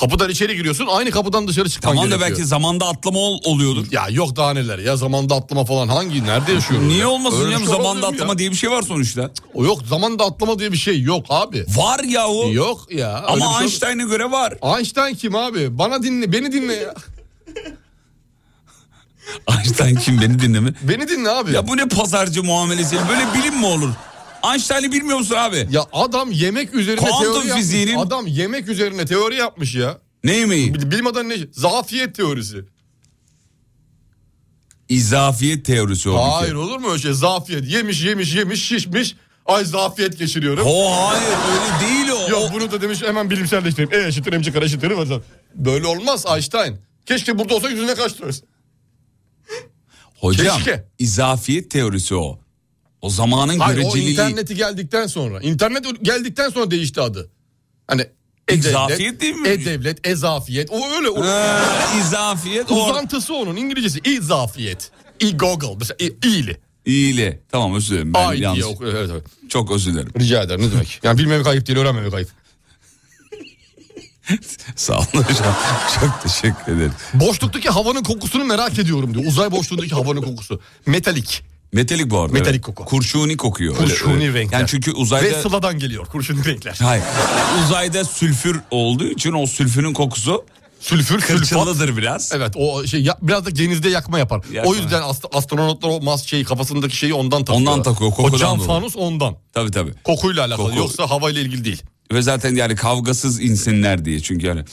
Kapıdan içeri giriyorsun aynı kapıdan dışarı çıkman
Tamam da
gerekiyor.
belki zamanda atlama ol- oluyordur.
Ya yok daha neler ya zamanda atlama falan hangi nerede yaşıyoruz?
Niye
ya?
olmasın
Öyle
hocam
bir şey
zamanda
olabilir mi
atlama
ya?
diye bir şey var sonuçta.
O yok zamanda atlama diye bir şey yok abi.
Var yahu.
Yok ya. öyle bir
Ama
şey-
Einstein'a göre var.
Einstein kim abi? Bana dinle beni dinle ya.
Einstein kim beni dinleme.
Beni dinle abi.
Ya bu ne pazarcı muamelesi? Böyle bilim mi olur? Einstein'ı bilmiyor musun abi?
Ya adam yemek üzerine
Kuantum
teori yapmış.
fiziğinin-
Adam yemek üzerine teori yapmış ya.
Ne yemeği?
Bil- Bilim adamı ne? Zafiyet teorisi.
İzafiyet teorisi o bir
Hayır
kere.
olur mu öyle şey? Zafiyet. Yemiş yemiş yemiş şişmiş. Ay zafiyet geçiriyorum.
O hayır öyle değil o.
Yok
O-
bunu da demiş hemen bilimselleştireyim. E eşittir MC kare eşittir. falan. Böyle olmaz Einstein. Keşke burada olsa yüzüne kaçtırırız.
Hocam
Keşke.
izafiyet teorisi o. O zamanın
Hayır o
göreceliği.
interneti geldikten sonra. İnternet geldikten sonra değişti adı. Hani e
İzafiyet değil mi?
E-Devlet, E-Zafiyet. O öyle. O,
Ee, izafiyet o.
uzantısı onun İngilizcesi. E-Zafiyet. E-Google. Mesela e- İ'li.
İyili. Tamam özür dilerim. Ben
Ay diye
yalnız.
okuyor. Evet, evet.
Çok özür dilerim.
Rica ederim ne demek. Yani bilmemek ayıp değil öğrenmemek ayıp.
Sağ olun hocam. Çok teşekkür ederim.
Boşluktaki havanın kokusunu merak ediyorum diyor. Uzay boşluğundaki havanın kokusu. Metalik.
Metalik bu arada.
Metalik
evet.
koku.
Kurşuni kokuyor. Öyle-
Kurşuni
öyle.
renkler.
Yani çünkü uzayda...
Ve sıladan geliyor kurşun renkler.
Hayır. Uzayda sülfür olduğu için o sülfürün kokusu
Sülfür, sülfat.
kırçılıdır biraz.
Evet o şey ya- biraz da denizde yakma yapar.
Yakma.
O yüzden ast- astronotlar o mas şeyi kafasındaki şeyi ondan takıyor.
Ondan takıyor, kokudan
O cam
dolayı.
fanus ondan.
Tabii tabii.
Kokuyla alakalı
Koku.
yoksa havayla ilgili değil.
Ve zaten yani kavgasız insinler diye. Çünkü yani...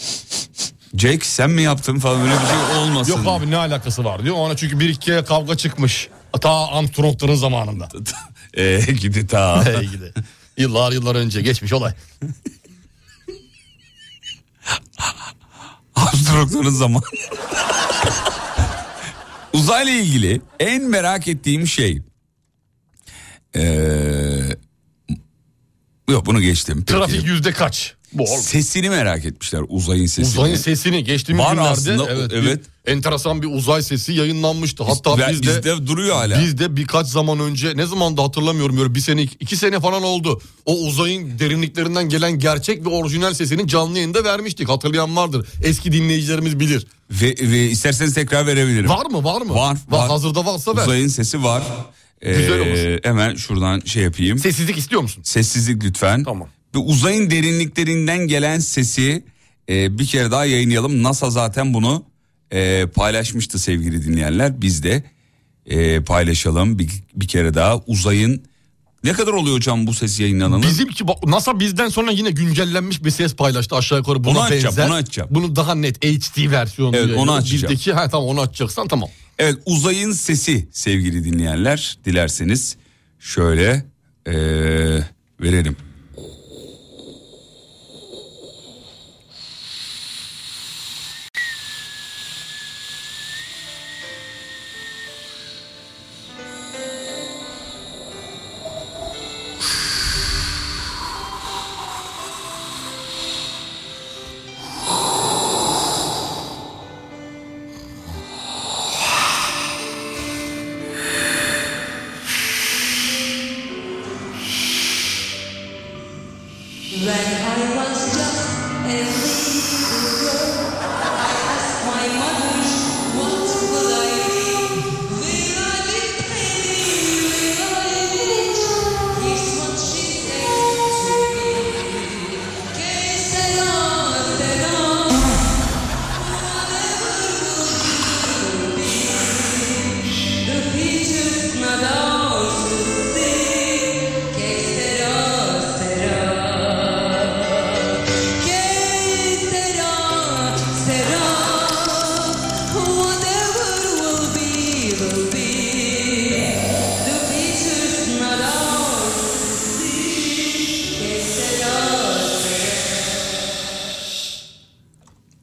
Jack sen mi yaptın falan böyle bir şey olmasın.
Yok abi ne alakası var diyor. Ona çünkü bir iki kere kavga çıkmış. Ta Armstrong'ların zamanında.
Eee Ee, gidi ta.
Hey gidi. Yıllar yıllar önce geçmiş olay.
Armstrong'ların zamanı. Uzayla ilgili en merak ettiğim şey... Ee, yok bunu geçtim. Peki.
Trafik yüzde kaç? Bu oğlum.
Sesini merak etmişler uzayın sesini.
Uzayın sesini geçtiğimiz
Var
günlerde
aslında,
evet,
evet.
bir enteresan bir uzay sesi yayınlanmıştı. Hatta
Ve
biz de
bizde duruyor hala.
biz de birkaç zaman önce ne zaman da hatırlamıyorum böyle bir sene iki, iki sene falan oldu. O uzayın derinliklerinden gelen gerçek ve orijinal sesini canlı yayında vermiştik. Hatırlayan vardır. Eski dinleyicilerimiz bilir.
Ve, ve isterseniz tekrar verebilirim.
Var mı var mı?
Var, var.
Hazırda varsa ver.
Uzayın sesi var. Ee,
Güzel olur.
Hemen şuradan şey yapayım.
Sessizlik istiyor musun?
Sessizlik lütfen.
Tamam.
Ve uzayın derinliklerinden gelen sesi e, bir kere daha yayınlayalım. NASA zaten bunu e, paylaşmıştı sevgili dinleyenler. Biz de e, paylaşalım bir, bir kere daha. Uzayın ne kadar oluyor hocam bu ses yayınlananı?
Bizimki bak- NASA bizden sonra yine güncellenmiş bir ses paylaştı aşağı yukarı buna
Onu açacağım,
benzer.
onu açacağım.
Bunu daha net HD versiyonu.
Evet, onu
yayınlıyor.
açacağım.
Bizdeki ha tamam onu açacaksan tamam.
Evet uzayın sesi sevgili dinleyenler. Dilerseniz şöyle e, verelim.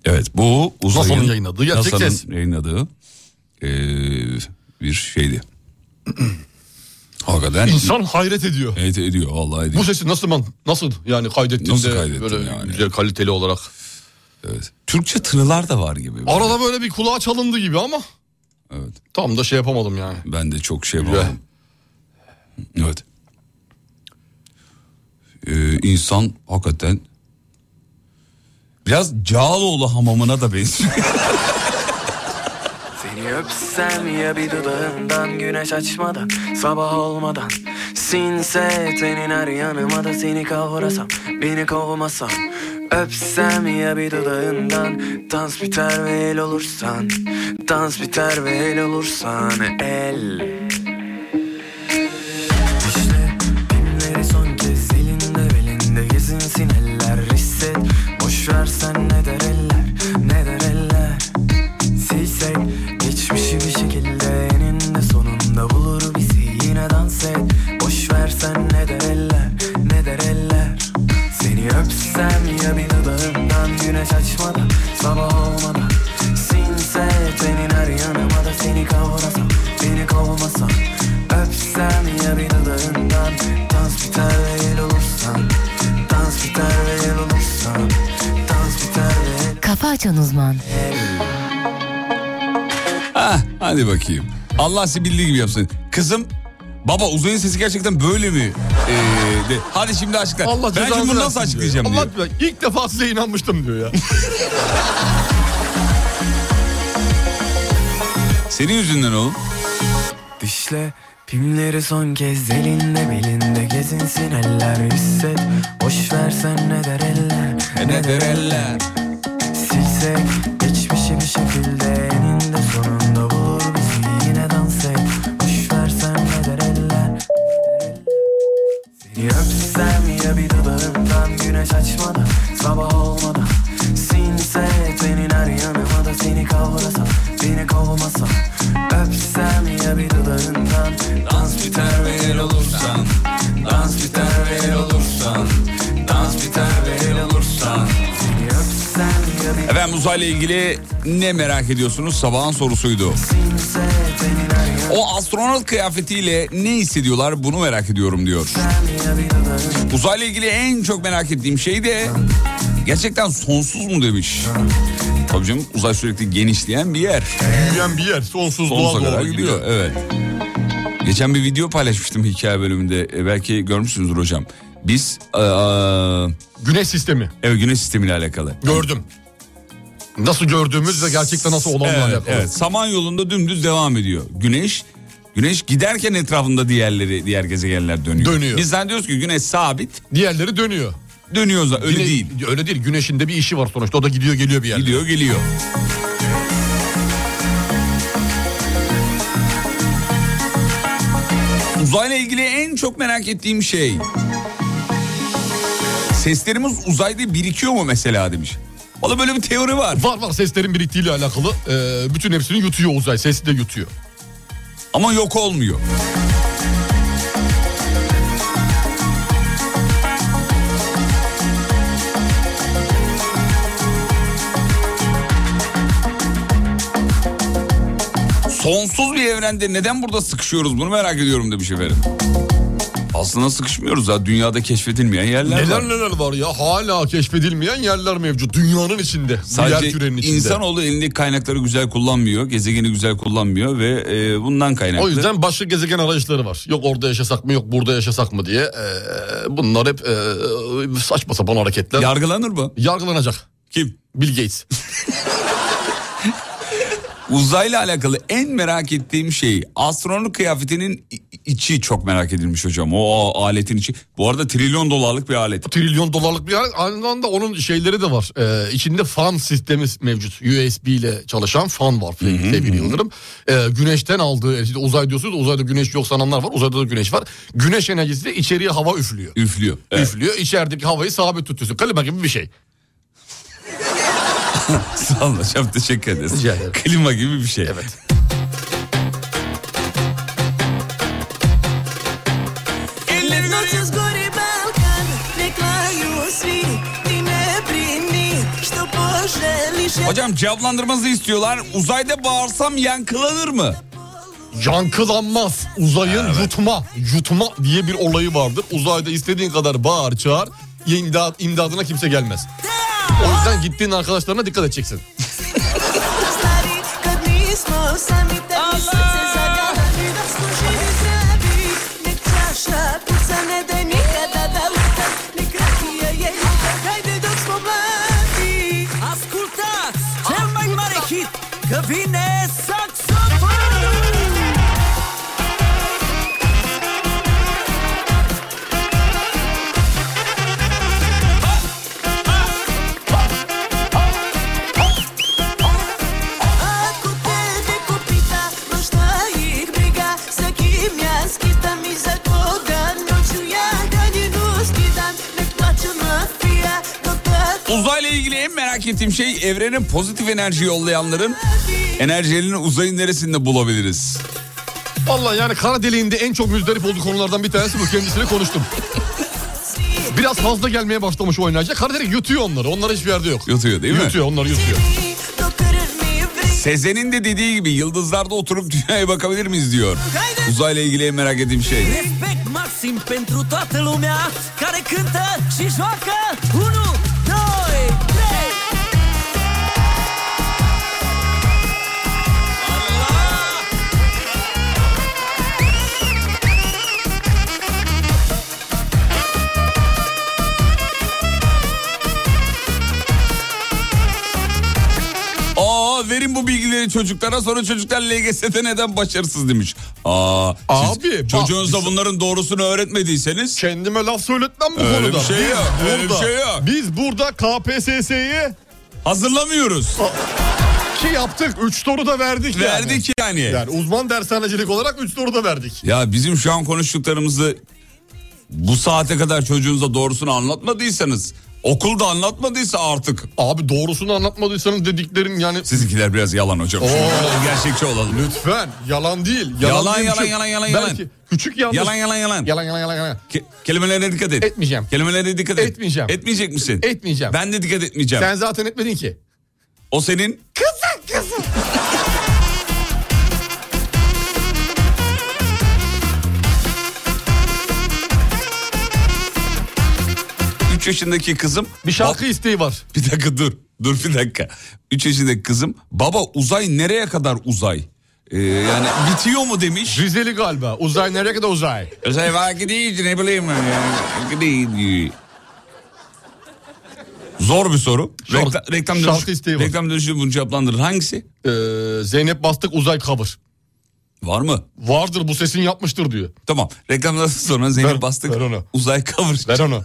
Evet bu uzayın...
NASA'nın yayınladığı gerçek
NASA'nın
ses.
yayınladığı ee, bir şeydi. Hakikaten
İnsan hayret ediyor.
evet, ediyor vallahi ediyor.
Bu sesi nasıl man nasıl yani kaydettin
Nasıl
de
kaydettin
böyle
yani?
güzel kaliteli olarak.
Evet. Türkçe tınılar da var gibi.
Arada böyle bir kulağa çalındı gibi ama
Evet.
tam da şey yapamadım yani.
Ben de çok şey
Güzel.
yapamadım. Evet. Ee, insan hakikaten biraz Cağaloğlu hamamına da benziyor.
Seni öpsem ya bir dudağından güneş açmadan sabah olmadan Sinse tenin her yanıma da seni kavrasam beni kovmasan Öpsem ya bir dudağından dans biter ve el olursan Dans biter ve el olursan el İşte Kimleri son kez elinde belinde gezinsin eller hisset Boş versen ne der eller ne der eller Silsek geçmişi bir şekilde eninde sonunda bulur bizi yine dans et Boş versen ne der eller ne der eller Seni öpsem ya bir dudağından güneş açmadan sabah olmadan Sinse senin her yanıma da seni kavrasam beni kovmasam Öpsem ya bir dudağından dans biter ve el olursan Dans biter ve el olursan Dans biter ve el
Kafa Açan Uzman.
Hah, hadi bakayım. Allah sizi bildiği gibi yapsın. Kızım Baba uzayın sesi gerçekten böyle mi? Ee, de- hadi şimdi açıkla.
Allah
ben
cezanızı
şimdi bunu nasıl
versin
açıklayacağım
diyor.
diyor.
Allah diyor. ilk defa size inanmıştım diyor ya.
Senin yüzünden oğlum.
Düşle pimleri son kez elinde belinde gezinsin eller hisset Boş versen ne der eller E ne der eller Silsek geçmişi bir şekilde eninde sonunda bulur bizi yine dans et Boş versen ne der eller Seni öpsem ya bir dudağından güneş açmadan sabah olmadan Sinse senin her yanıma da seni kavrasam beni kovmasam Öpsem ya bir dudağından dans biter ve el olursan Dans biter ve el olursan Dans biter ve el olursan Seni öpsem ya bir
Efendim uzayla ilgili ne merak ediyorsunuz? Sabahın sorusuydu.
sinse senin her yanıma
O astronot kıyafetiyle ne hissediyorlar bunu merak ediyorum diyor.
ya bir dudağından
Uzayla ilgili en çok merak ettiğim şey de gerçekten sonsuz mu demiş. Tabii canım uzay sürekli genişleyen bir yer.
Büyüyen bir yer sonsuz
Sonsuza
doğal
kadar
doğru
gidiyor.
gidiyor.
Evet. Geçen bir video paylaşmıştım hikaye bölümünde. E, belki görmüşsünüzdür hocam. Biz aa,
Güneş sistemi
ev güneş sistemiyle alakalı.
gördüm. Nasıl gördüğümüz ve gerçekten nasıl olanla
Evet,
alakalı.
evet. Samanyolu'nda dümdüz devam ediyor. Güneş Güneş giderken etrafında diğerleri diğer gezegenler dönüyor.
Dönüyor.
Biz zannediyoruz ki güneş sabit
Diğerleri dönüyor.
dönüyoruz da öyle
Güne-
değil.
Öyle değil. Güneşin de bir işi var sonuçta. O da gidiyor geliyor bir yerde.
Gidiyor geliyor. Uzayla ilgili en çok merak ettiğim şey. Seslerimiz uzayda birikiyor mu mesela demiş. Valla böyle bir teori var.
Var var seslerin biriktiğiyle alakalı. Ee, bütün hepsini yutuyor uzay. Sesi de yutuyor.
Ama yok olmuyor. Sonsuz bir evrende neden burada sıkışıyoruz bunu merak ediyorum demiş efendim. Aslında sıkışmıyoruz ha dünyada keşfedilmeyen yerler
Neler
var.
neler var ya. Hala keşfedilmeyen yerler mevcut. Dünyanın içinde. Sadece yer
Sadece
kürenin içinde.
insanoğlu elindeki kaynakları güzel kullanmıyor, gezegeni güzel kullanmıyor ve e, bundan kaynaklı.
O yüzden başka gezegen arayışları var. Yok orada yaşasak mı yok burada yaşasak mı diye. Ee, bunlar hep ee, saçma sapan hareketler.
yargılanır mı?
Yargılanacak.
Kim?
Bill Gates.
Uzayla alakalı en merak ettiğim şey astronot kıyafetinin i- içi çok merak edilmiş hocam. O aletin içi. Bu arada trilyon dolarlık bir alet.
Trilyon dolarlık bir yer. Aynı anda onun şeyleri de var. Ee, içinde fan sistemi mevcut. USB ile çalışan fan var sevgili Yıldırım. Ee, güneşten aldığı, işte uzay diyorsunuz uzayda güneş yok sananlar var. Uzayda da güneş var. Güneş enerjisi de içeriye hava üflüyor.
Üflüyor. Evet.
Üflüyor. İçerideki havayı sabit tutuyorsun. Kalima gibi bir şey.
Sağ olun hocam teşekkür ederiz.
Rica ederim.
Klima gibi bir şey.
Evet.
Noches gore Balkan, nekla ju osvini, ti ne prini, što poželi
şey-
Hocam cevaplandırmanızı istiyorlar. Uzayda bağırsam yankılanır mı?
Yankılanmaz. Uzayın yutma, yutma diye bir olayı vardır. Uzayda istediğin kadar bağır, çağır, imdat, imdadına kimse gelmez. O yüzden gittiğin arkadaşlarına dikkat edeceksin.
Kad nismo sami tebi srce zagadali Da služim sebi Nek čaša puca ne daj nikada da luta Nek rakija je ljuta Hajde dok smo mladi Ascultați cel mai mare hit Că vine saxofonul Ако тебе попита, нужна их бега, всеки мя скитам и за кога ночу я ганину скидам, не плачу мафия, но так
Uzayla ilgili en merak ettiğim şey evrenin pozitif enerji yollayanların enerjilerini uzayın neresinde bulabiliriz?
Vallahi yani kara deliğinde en çok müzdarip olduğu konulardan bir tanesi bu. Kendisiyle konuştum. Biraz fazla gelmeye başlamış oynayacak. Kara delik yutuyor onları. Onlar hiçbir yerde yok.
Yutuyor değil mi?
Yutuyor onlar yutuyor.
Sezen'in de dediği gibi yıldızlarda oturup dünyaya bakabilir miyiz diyor. Uzayla ilgili en merak ettiğim şey.
Respect maxim pentru toată lumea care cântă și joacă. 1, 2, 3.
Aa verin bu bilgileri çocuklara sonra çocuklar LGS'de neden başarısız demiş. Aa
Abi,
siz
bak,
çocuğunuza
biz-
bunların doğrusunu öğretmediyseniz
Kendime laf söyletmem bu
Öyle bir
konuda.
şey
Biz
yok, öyle bir
burada-
şey yok.
Biz burada KPSS'yi
hazırlamıyoruz.
ki yaptık. 3 soru da verdik
Verdik yani.
yani. Yani uzman dershanecilik olarak 3 soru da verdik.
Ya bizim şu an konuştuklarımızı bu saate kadar çocuğunuza doğrusunu anlatmadıysanız okulda anlatmadıysa artık
Abi doğrusunu anlatmadıysanız dediklerim yani
sizinkiler biraz yalan hocam. Şunu
Oo.
biraz gerçekçi olalım.
lütfen yalan değil.
Yalan,
değil,
yalan,
küçük-
yalan, yalan,
Belki
yalan.
küçük yanlış.
Yalan yalan yalan.
Yalan yalan yalan yalan.
Ke- kelimelere dikkat et.
Etmeyeceğim.
Kelimelere dikkat et.
Etmeyeceğim.
Etmeyecek misin?
Etmeyeceğim.
Ben de dikkat etmeyeceğim.
Sen zaten etmedin ki.
O senin Üç yaşındaki kızım
Bir şarkı isteği var.
Bir dakika dur. Dur bir dakika. 3 yaşındaki kızım baba uzay nereye kadar uzay? Ee, yani bitiyor mu demiş.
Rizeli galiba. Uzay nereye kadar uzay?
Uzay var gidiyor ne bileyim. yani, gidiyor. Zor bir soru.
Şarkı-
Rekla- reklam
şarkı
dönüşü,
isteği var.
reklam dönüşü bunu cevaplandırır. Hangisi?
Ee, Zeynep Bastık uzay cover.
Var mı?
Vardır bu sesin yapmıştır diyor.
Tamam. Reklamdan sonra Zeynep
Ver-
Bastık
ver onu.
uzay cover.
Ver onu.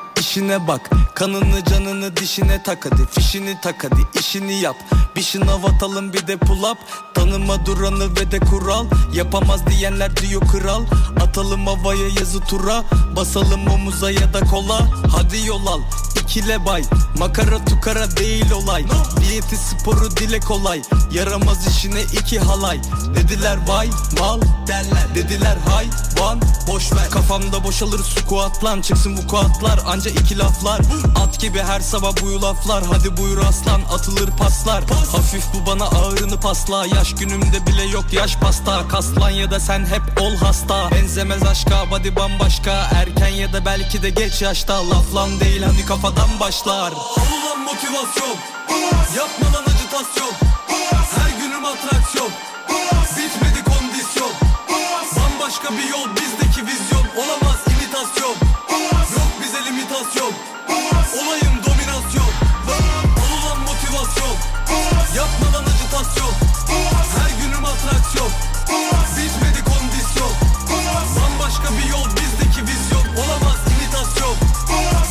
işine bak Kanını canını dişine tak hadi Fişini tak hadi işini yap Bir şınav atalım bir de pull up Tanıma duranı ve de kural Yapamaz diyenler diyor kral Atalım havaya yazı tura Basalım omuza ya da kola Hadi yol al ikile bay Makara tukara değil olay Diyeti sporu dile kolay Yaramaz işine iki halay Dediler vay mal derler Dediler hayvan boş ver Kafamda boşalır squatlan Çıksın vukuatlar anca iki laflar At gibi her sabah buyu laflar Hadi buyur aslan atılır paslar Hafif bu bana ağırını pasla Yaş günümde bile yok yaş pasta Kaslan ya da sen hep ol hasta Benzemez aşka body bambaşka Erken ya da belki de geç yaşta Laflan değil hani kafadan başlar Al ulan motivasyon Yapma lan acitasyon Her günüm atraksiyon Bitmedi kondisyon Bambaşka bir yol bizdeki vizyon Olamaz imitasyon Yok bize limitasyon Olayım dominasyon Al ulan motivasyon Yapma lan acitasyon Her günüm atraksiyon Bitmedi kondisyon Bambaşka bir yol bizdeki vizyon Olamaz imitasyon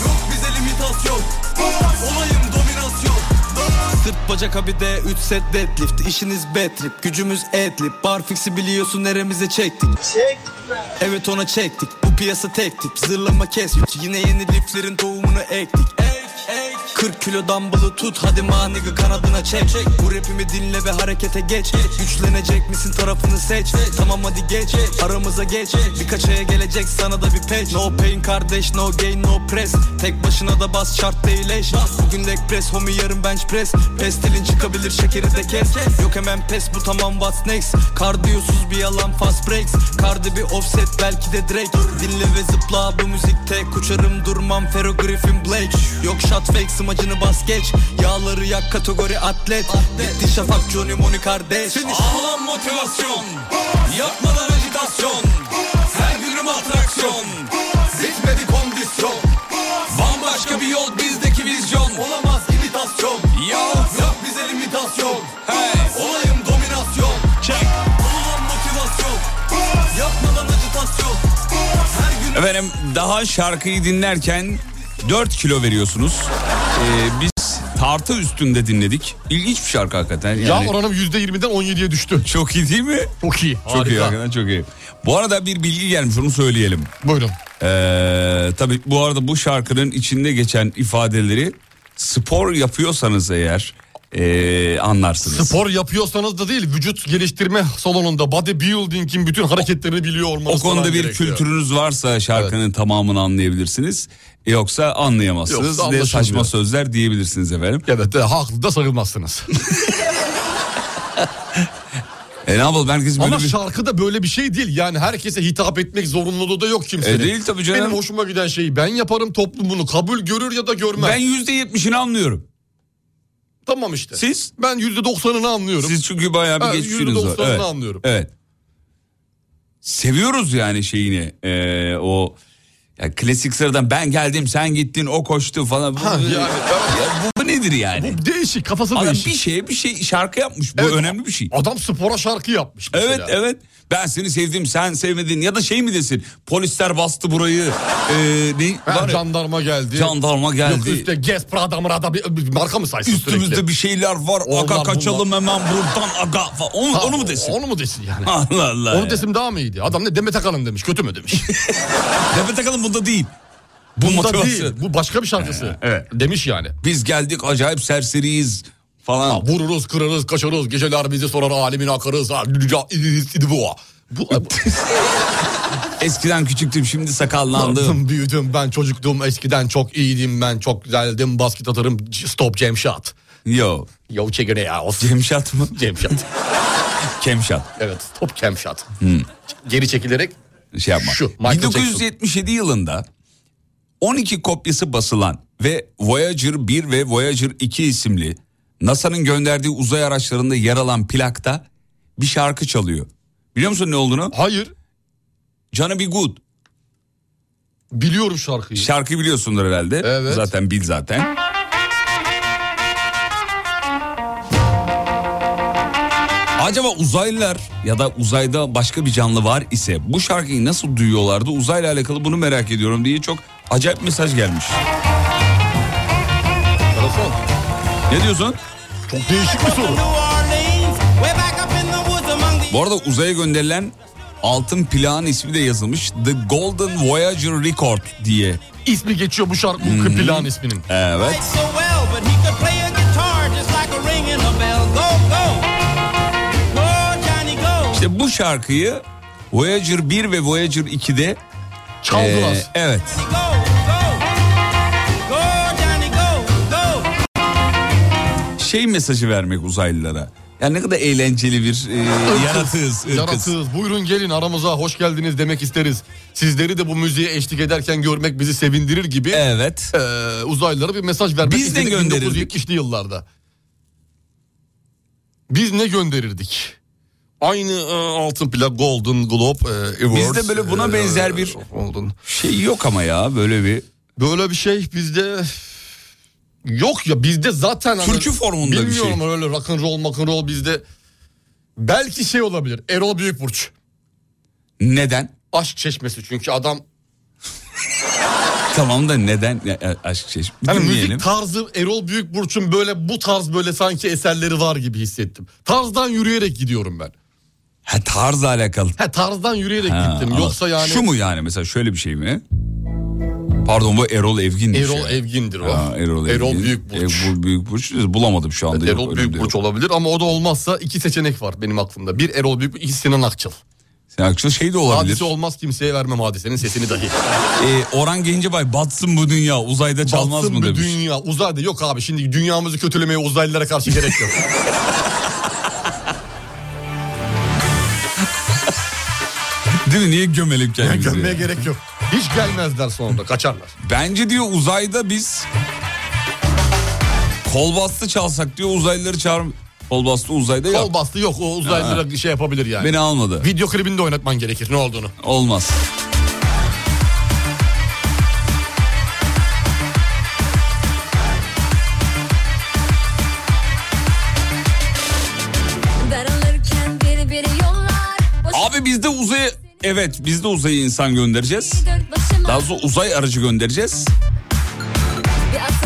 Yok bize limitasyon Olayım dominasyon Sırt bacak bir de 3 set deadlift işiniz betrip gücümüz etlip Barfix'i biliyorsun neremize çektik Evet ona çektik Bu piyasa tek tip Zırlama kes yine yeni liflerin doğumunu ektik Ek, ek. 40 kilo dumbbell'ı tut hadi manigı kanadına çek çek Bu rapimi dinle ve harekete geç Güçlenecek misin tarafını seç Tamam hadi geç aramıza geç Birkaç aya gelecek sana da bir patch No pain kardeş no gain no press Tek başına da bas şart değil eş Bugün leg press homie yarın bench press Pestilin çıkabilir şekeri de kes Yok hemen pes bu tamam what's next Kardiyosuz bir yalan fast breaks Cardi bir offset belki de Drake Dinle ve zıpla bu müzikte Uçarım durmam Fero Griffin Blake Yok shot fake smacını bas geç Yağları yak kategori atlet Bitti şafak Johnny Moni kardeş
Sağlam motivasyon Yapmadan ajitasyon Her günüm atraksiyon Bitmedi kondisyon Bambaşka bir yol bizdeki vizyon Olamaz imitasyon Yok yok bize limitasyon hey. Olayım dominasyon Çek Sağlam motivasyon Yapmadan ajitasyon
Efendim daha şarkıyı dinlerken 4 kilo veriyorsunuz. Ee, biz tartı üstünde dinledik. İlginç bir şarkı hakikaten.
Yağ
Yani
oranım %20'den 17'ye düştü.
Çok iyi değil mi?
Çok iyi.
çok iyi hakikaten çok iyi. Bu arada bir bilgi gelmiş onu söyleyelim.
Buyurun.
Ee, tabii bu arada bu şarkının içinde geçen ifadeleri spor yapıyorsanız eğer ee, anlarsınız.
Spor yapıyorsanız da değil vücut geliştirme salonunda bodybuilding'in bütün hareketlerini biliyor
O
olmanız
konuda
falan
bir
gerekiyor.
kültürünüz varsa şarkının tamamını anlayabilirsiniz. Yoksa anlayamazsınız.
Yoksa
ne saçma
anlaşılmıyor.
sözler diyebilirsiniz efendim.
Evet e, haklı da sayılmazsınız.
E ne yapalım herkes böyle
Ama
bir...
şarkı da böyle bir şey değil. Yani herkese hitap etmek zorunluluğu da yok kimsenin.
E, değil tabii canım.
Benim hoşuma giden şeyi ben yaparım toplum bunu kabul görür ya da görmez.
Ben yüzde yetmişini anlıyorum.
Tamam işte.
Siz?
Ben yüzde doksanını anlıyorum.
Siz çünkü bayağı bir
Evet,
geçmişiniz var.
%90'ını anlıyorum.
Evet. Seviyoruz yani şeyini. Ee, o ya klasik sıradan ben geldim sen gittin o koştu falan. Bu,
Ha, yani-
Ya bu, bu nedir yani?
Değişik kafası
Adam
değişik.
bir şeye bir şey şarkı yapmış. Bu
Evet,
önemli bir şey.
Adam spora şarkı yapmış mesela.
Evet evet. Ben seni sevdim sen sevmedin ya da şey mi desin polisler bastı burayı ee, ne
Ha,
var ya,
jandarma geldi.
Jandarma geldi.
Yok üstte Gespra adam adam bir, bir marka mı saysın
üstümüzde
sürekli?
bir şeyler var
Onlar,
aga
bunlar.
kaçalım hemen buradan aga falan. Onu,
Ha,
onu mu desin?
Onu mu desin yani?
Allah Allah.
Onu desin daha mı iyiydi? Adam ne Demet Akalın demiş kötü mü demiş.
Demet Akalın bunda değil. Bu
Bunda
motivasyon.
değil bu başka bir şarkısı.
evet.
Demiş yani.
Biz geldik acayip serseriyiz falan.
Ha, Vururuz, kırarız, kaçarız, geceler bizi sorar, alemin akarız. Ha, lüca- idiriz, idi bu. Bu,
Eskiden küçüktüm şimdi sakallandım.
Anladım. Büyüdüm ben çocuktum eskiden çok iyiydim ben çok güzeldim basket atarım c- stop jam shot.
Yo.
Yo çekene ya of
Cemşat mı?
jam shot.
Kemşat.
Evet stop jam shot. Geri çekilerek
Şey yapma.
Şu, Michael Jackson.
1977 yılında 12 kopyası basılan ve Voyager 1 ve Voyager 2 isimli NASA'nın gönderdiği uzay araçlarında yer alan plakta bir şarkı çalıyor. Biliyor musun ne olduğunu?
hayır
Johnny Be Good.
biliyorum şarkıyı.
Şarkıyı biliyorsundur herhalde.
Evet.
Zaten bil zaten. Acaba uzaylılar ya da uzayda başka bir canlı var ise bu şarkıyı nasıl duyuyorlardı? Uzayla alakalı bunu merak ediyorum diye çok acayip mesaj gelmiş.
Şarkı.
Ne diyorsun?
Çok değişik bir soru.
Bu arada uzaya gönderilen altın plağın ismi de yazılmış. The Golden Voyager Record diye.
İsmi geçiyor bu şarkı bu plan isminin.
Evet. İşte bu şarkıyı Voyager 1 ve Voyager 2'de
Çaldılar.
Ee, evet. Şey mesajı vermek uzaylılara. Yani ne kadar eğlenceli bir e, yaratığız. ırkız.
Yaratığız. Buyurun gelin aramıza hoş geldiniz demek isteriz. Sizleri de bu müziğe eşlik ederken görmek bizi sevindirir gibi
Evet.
eee, uzaylılara bir mesaj vermek
Biz de
istedik
gönderirdik.
1970'li yıllarda. Biz ne gönderirdik? Aynı eee, altın plak Golden Globe eee, Awards. e,
Bizde E, böyle buna
eee,
benzer bir-
Golden.
Şey yok ama ya böyle bir.
Böyle bir şey bizde yok ya bizde zaten hani-
Türkü formunda bir şey.
Bilmiyorum öyle rock and roll, rock and roll bizde belki şey olabilir. Erol Büyükburç.
Neden?
Aşk çeşmesi çünkü adam
Tamam da neden? Ya, ya, aşk şey.
hani
Dinleyelim.
müzik tarzı Erol Büyükburç'un böyle bu tarz böyle sanki eserleri var gibi hissettim. Tarzdan yürüyerek gidiyorum ben.
Ha tarzla e, alakalı.
Ha tarzdan yürüyerek
Ha,
gittim.
anladım.
Yoksa yani
Şu mu yani mesela şöyle bir şey mi? Pardon bu Erol Evgin'dir.
Erol Evgin'dir o.
Erol,
Erol
Evgin. E,
Büyükburç.
Erol Büyükburç. Bulamadım şu anda.
Erol Büyükburç olabilir ama o da olmazsa iki seçenek var benim aklımda. Bir Erol Büyükburç, iki Sinan Akçıl.
Sinan Akçıl şey de olabilir.
Hadise olmaz kimseye vermem hadisenin sesini dahi.
Ee, Orhan Gencebay batsın bu dünya uzayda çalmaz
Batsın
mı
bu
demiş.
dünya uzayda yok abi şimdi dünyamızı kötülemeye uzaylılara karşı gerek yok.
Değil mi niye gömelim kendimizi?
Gömmeye gerek yok. Hiç gelmezler sonunda kaçarlar.
Bence diyor uzayda biz kol bastı çalsak diyor uzaylıları çağır. Kol bastı uzayda yok.
Kol bastı yok o uzaylılara
Ha.
şey yapabilir yani.
Beni almadı.
Video klibinde oynatman gerekir ne olduğunu.
Olmaz.
Ben alırken biri biri yollar
Abi biz de uzaya evet biz de uzaya insan göndereceğiz.
Dört başıma
Daha sonra uzay aracı göndereceğiz.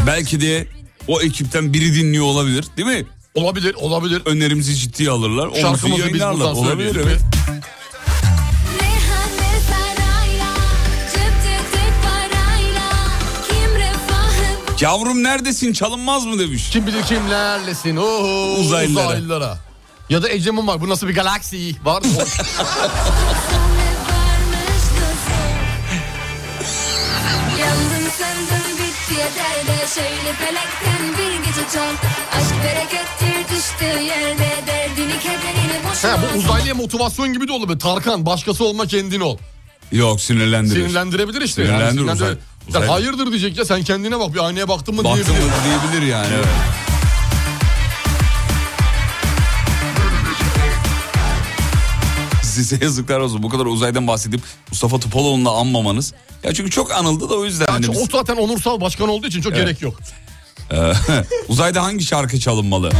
Belki de o ekipten biri dinliyor olabilir değil mi?
Olabilir olabilir.
Önerimizi ciddiye alırlar. onu
Şarkımızı biz
yayınlarlar.
buradan
Olabilir
söyleyelim.
evet.
Reyhan'le sarayla Cıp cıp cıp parayla Kim refahı
Yavrum neredesin çalınmaz mı demiş.
Kim bilir kimlerlesin. Oo,
Uzaylılara.
uzaylılara. Ya da Ecem'in var. Bu nasıl bir galaksi? Var mı?
varmış kızım Yandım söndüm bitti yeter de Şöyle felekten bir gece çok Aşk berekettir düştüğü yerde Derdini kederini boşuna
ha, bu uzaylıya motivasyon gibi de olabilir. Tarkan başkası olma kendin ol.
Yok sinirlendirir.
Sinirlendirebilir işte. yani,
Sinirlendirir, uzay-
Ya
uzaylı.
hayırdır diyecek ya sen kendine bak bir aynaya baktın mı
Baktın mı
diyebilir.
diyebilir yani. evet. Size yazıklar olsun. Bu kadar uzaydan bahsedip Mustafa Topaloğlu'nu anmamanız. Ya çünkü çok anıldı da o yüzden. hani
O
biz-
zaten onursal başkan olduğu için çok
Evet.
gerek yok.
Ee, uzayda hangi şarkı çalınmalı?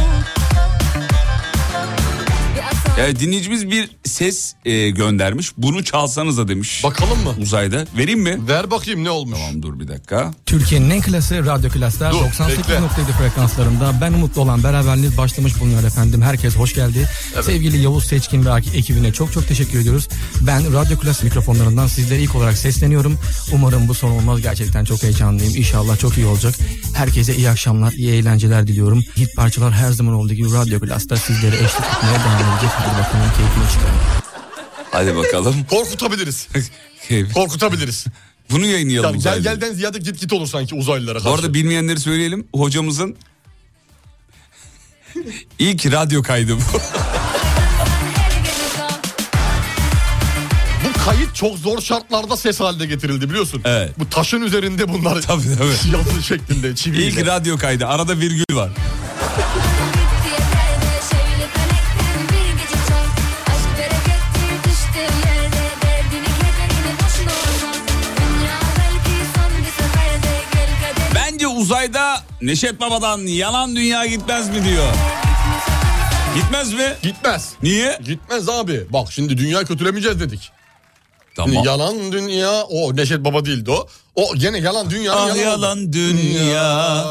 Evet dinleyicimiz bir ses e, göndermiş. Bunu çalsanız da demiş.
Bakalım mı?
Uzayda. Vereyim mi?
Ver bakayım ne olmuş.
Tamam dur bir dakika.
Türkiye'nin en klası radyo klaslar
Dur,
98.7 frekanslarında ben Umutlu olan beraberliğiniz başlamış bulunuyor efendim. Herkes hoş geldi. Sevgili Yavuz Seçkin ve ekibine çok çok teşekkür ediyoruz. Ben radyo klas mikrofonlarından sizlere ilk olarak sesleniyorum. Umarım bu son olmaz. Gerçekten çok heyecanlıyım. İnşallah çok iyi olacak. Herkese iyi akşamlar, iyi eğlenceler diliyorum. Hit parçalar her zaman olduğu gibi radyo klasta sizlere eşlik etmeye devam edecek. Hadi bakalım keyfini çıkarın.
Hadi bakalım.
Korkutabiliriz. Korkutabiliriz.
Bunu yayınlayalım
Yani gel
uzayda.
gelden ziyade git git olur sanki uzaylılara karşı.
Bu arada bilmeyenleri söyleyelim. Hocamızın ilk radyo kaydı bu.
Bu kayıt çok zor şartlarda ses haline getirildi biliyorsun.
Evet.
Bu taşın üzerinde bunlar
Tabii, tabii.
yazılı şeklinde çiviyle.
İlk radyo kaydı. Arada virgül var.
bitti yeter de Şöyle felekten bir gece çok Aşk berekettir düştüğü yerde Derdini kederini boşuna unut Dünya belki son bir seferde Gel kader
Bence uzayda Neşet Baba'dan yalan dünya gitmez mi diyor. Gitmez mi?
Gitmez.
Niye?
Gitmez abi. Bak şimdi dünya kötülemeyeceğiz dedik.
Tamam.
Şimdi yalan dünya o Neşet Baba değildi o. O gene yalan dünya.
Ah yalan, dünya,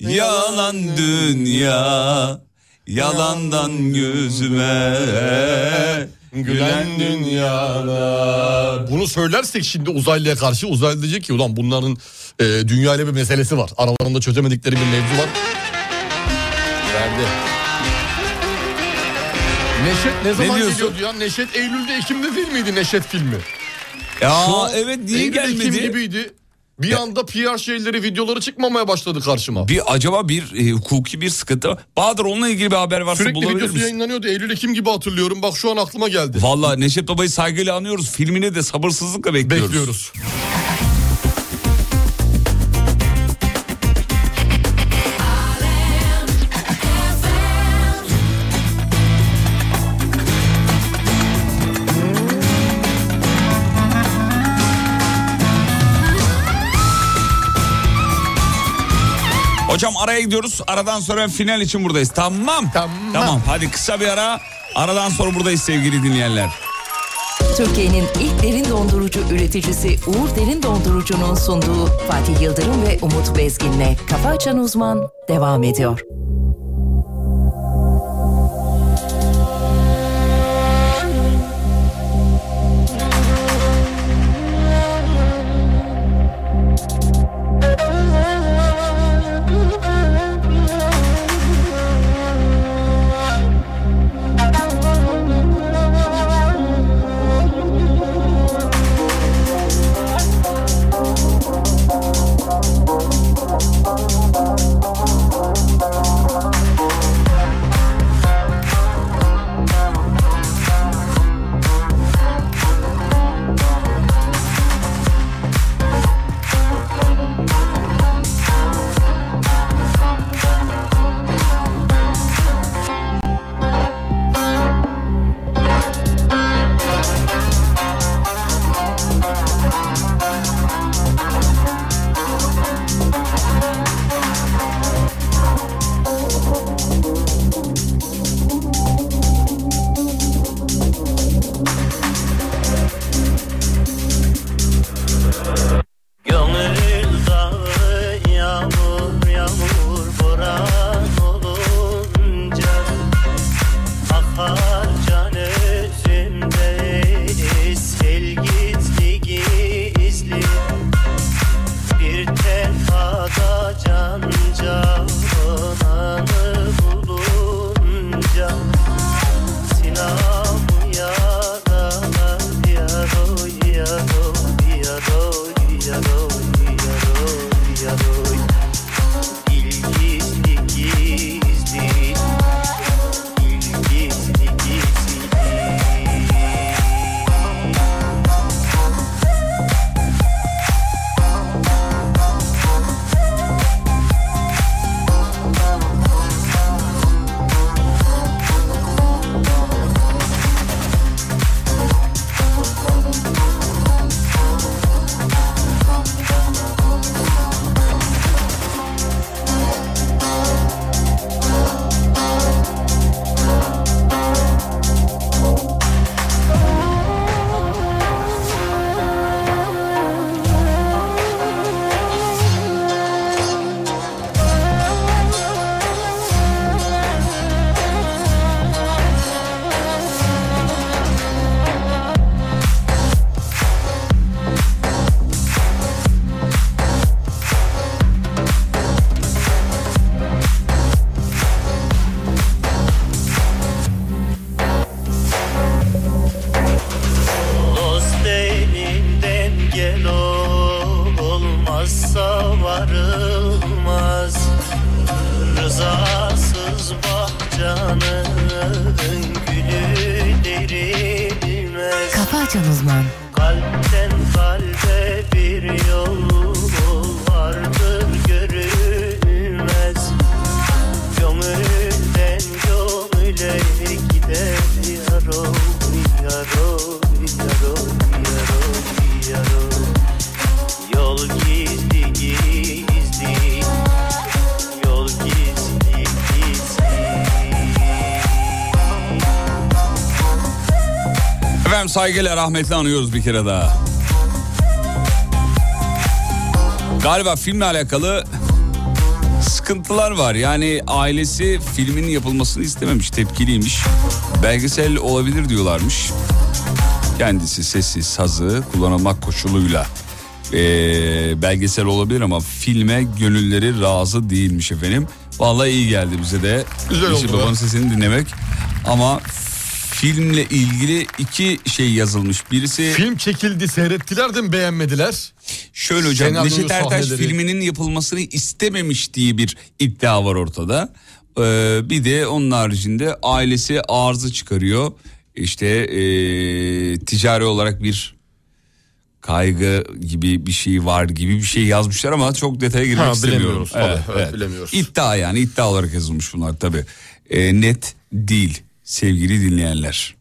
yalan dünya, yalandan gözüme
Ee,
Ee,
Gülen dünyada. Bunu söylersek şimdi uzaylıya karşı uzaylı diyecek ki ulan bunların e, dünyayla bir meselesi var. Aralarında çözemedikleri bir mevzu var. Verdi. Neşet ne zaman
diyorsun?
geliyordu ya? Neşet Eylül'de Ekim'de değil miydi Neşet filmi?
Ya
Şu an
evet niye
Eylül, Ekim
gelmedi?
gibiydi. Bir anda PR şeyleri videoları çıkmamaya başladı karşıma.
Bir acaba bir e, hukuki bir sıkıntı var. Bahadır onunla ilgili bir haber varsa
Sürekli
bulabilir
videosu
misin?
yayınlanıyordu. Eylül Ekim gibi hatırlıyorum. Bak şu an aklıma geldi.
Valla Neşet Baba'yı saygıyla anıyoruz. Filmini de sabırsızlıkla bekliyoruz.
Bekliyoruz.
Hocam araya gidiyoruz. Aradan sonra final için buradayız. Tamam. Tamam. Tamam. Hadi kısa bir ara. Aradan sonra buradayız sevgili dinleyenler.
Türkiye'nin ilk derin dondurucu üreticisi Uğur Derin Dondurucu'nun sunduğu Fatih Yıldırım ve Umut Bezgin'le Kafa Açan Uzman devam ediyor.
da can cananı bulunca Sinan yana yaro yaro yaro yaro yaro yaro İlgisi gizli İlgisi Dost elinden gel olmazsa varılmaz Rızasız bahçanın gülü derilmez
Kafa Açan Uzman.
Kalpten kalbe bir yol vardır görülmez Gönülden gönüle gider yarol yarol yarol yarol yarol Yol gizli gizli Yol gizli gizli
Efendim saygıyla rahmetle anıyoruz bir kere daha. Galiba filmle alakalı sıkıntılar var. Yani ailesi filmin yapılmasını istememiş, tepkiliymiş. Belgesel olabilir diyorlarmış. Kendisi sessiz sazı kullanılmak koşuluyla ee, belgesel olabilir ama filme gönülleri razı değilmiş efendim. Vallahi iyi geldi bize de.
Güzel
Yeşil
oldu be.
Baba'nın sesini dinlemek. Ama filmle ilgili iki şey yazılmış. Birisi
Film çekildi seyrettiler de mi beğenmediler?
Şöyle hocam
Senaryo
Neşet Ertaş
sahneleri.
filminin yapılmasını istememiş diye bir iddia var ortada. Ee, bir de onun haricinde ailesi arızı çıkarıyor. İşte ee, ticari olarak bir kaygı gibi bir şey var gibi bir şey yazmışlar ama çok detaya girmek
Ha,
istemiyorum.
bilemiyoruz tabii, evet, bilemiyoruz.
İddia yani iddia olarak yazılmış bunlar tabii. Ee, net değil sevgili dinleyenler.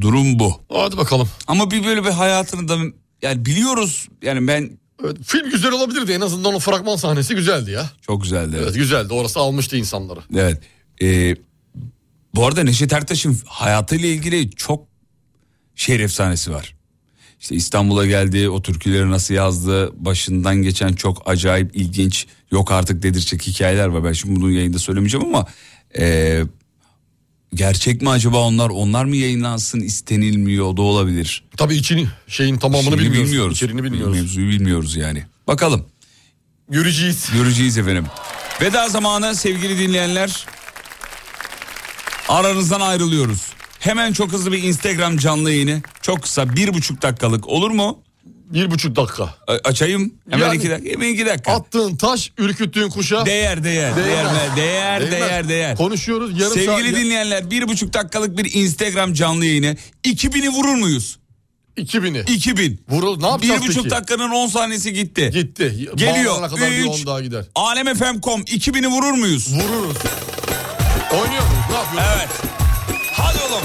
Durum bu.
Hadi bakalım.
Ama bir böyle bir hayatını da yani biliyoruz yani ben
Evet, film güzel olabilirdi en azından o fragman sahnesi güzeldi ya.
Çok güzeldi.
Evet güzeldi orası almıştı insanları.
Evet. Ee, bu arada Neşet Ertaş'ın hayatıyla ilgili çok şehir efsanesi var. İşte İstanbul'a geldi, o türküleri nasıl yazdı, başından geçen çok acayip ilginç, yok artık dedirtecek hikayeler var. Ben şimdi bunu yayında söylemeyeceğim ama ee, gerçek mi acaba onlar, onlar mı yayınlansın istenilmiyor o da olabilir.
Tabii içini şeyin tamamını
İçini
bilmiyoruz.
bilmiyoruz.
İçerini bilmiyoruz.
Mevzuyu bilmiyoruz yani. Bakalım.
Göreceğiz.
Göreceğiz efendim. Veda zamanı sevgili dinleyenler. Aranızdan ayrılıyoruz. Hemen çok hızlı bir Instagram canlı yayını. Çok kısa bir buçuk dakikalık olur mu?
Bir buçuk dakika.
açayım. Hemen
Yani-
iki dakika. Hemen iki dakika.
Attığın taş ürküttüğün kuşa.
Değer değer. Değer değer
Değmez.
değer
Değmez.
değer. değer.
Konuşuyoruz yarım saat.
Sevgili dinleyenler bir buçuk dakikalık bir Instagram canlı yayını. 2000'i vurur muyuz?
2000'i.
2000.
Vurul ne
Bir
yapacağız
buçuk
peki?
dakikanın 10 saniyesi gitti.
Gitti. Bağlanana
Geliyor.
kadar bir
3,
on daha gider.
Alemfm.com 2000'i vurur muyuz?
Vururuz. Oynuyor muyuz? Ne yapıyoruz?
Evet. Hadi oğlum.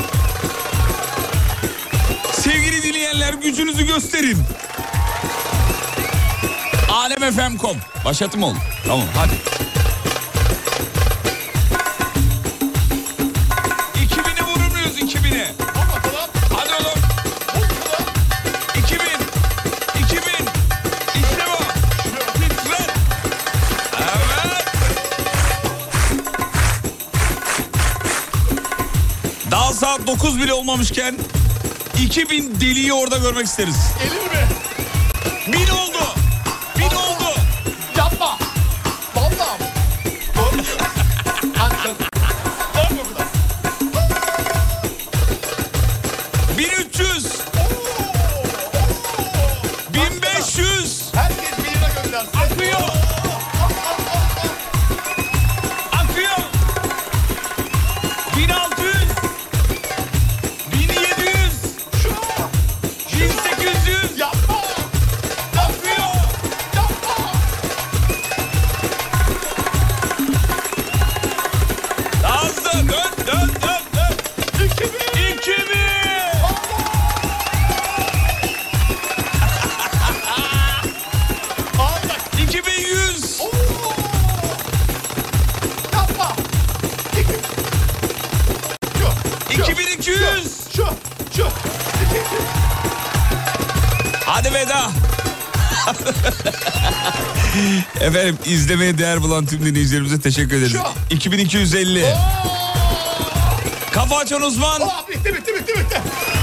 Sevgili dinleyenler gücünüzü gösterin. Alemfm.com Başlatım oğlum. Tamam hadi. 2000'i vurur muyuz 2000'i? Hadi oğlum. 2000. 2000. İşte bu. Lütfen. Evet. Daha saat 9 bile olmamışken 2000 deliği orada görmek isteriz.
50 mi?
Bin oldu. Bin oldu.
Yapma.
Efendim izlemeye değer bulan tüm dinleyicilerimize teşekkür ederiz. 2250. Kafa açan uzman.
bitti bitti bitti bitti.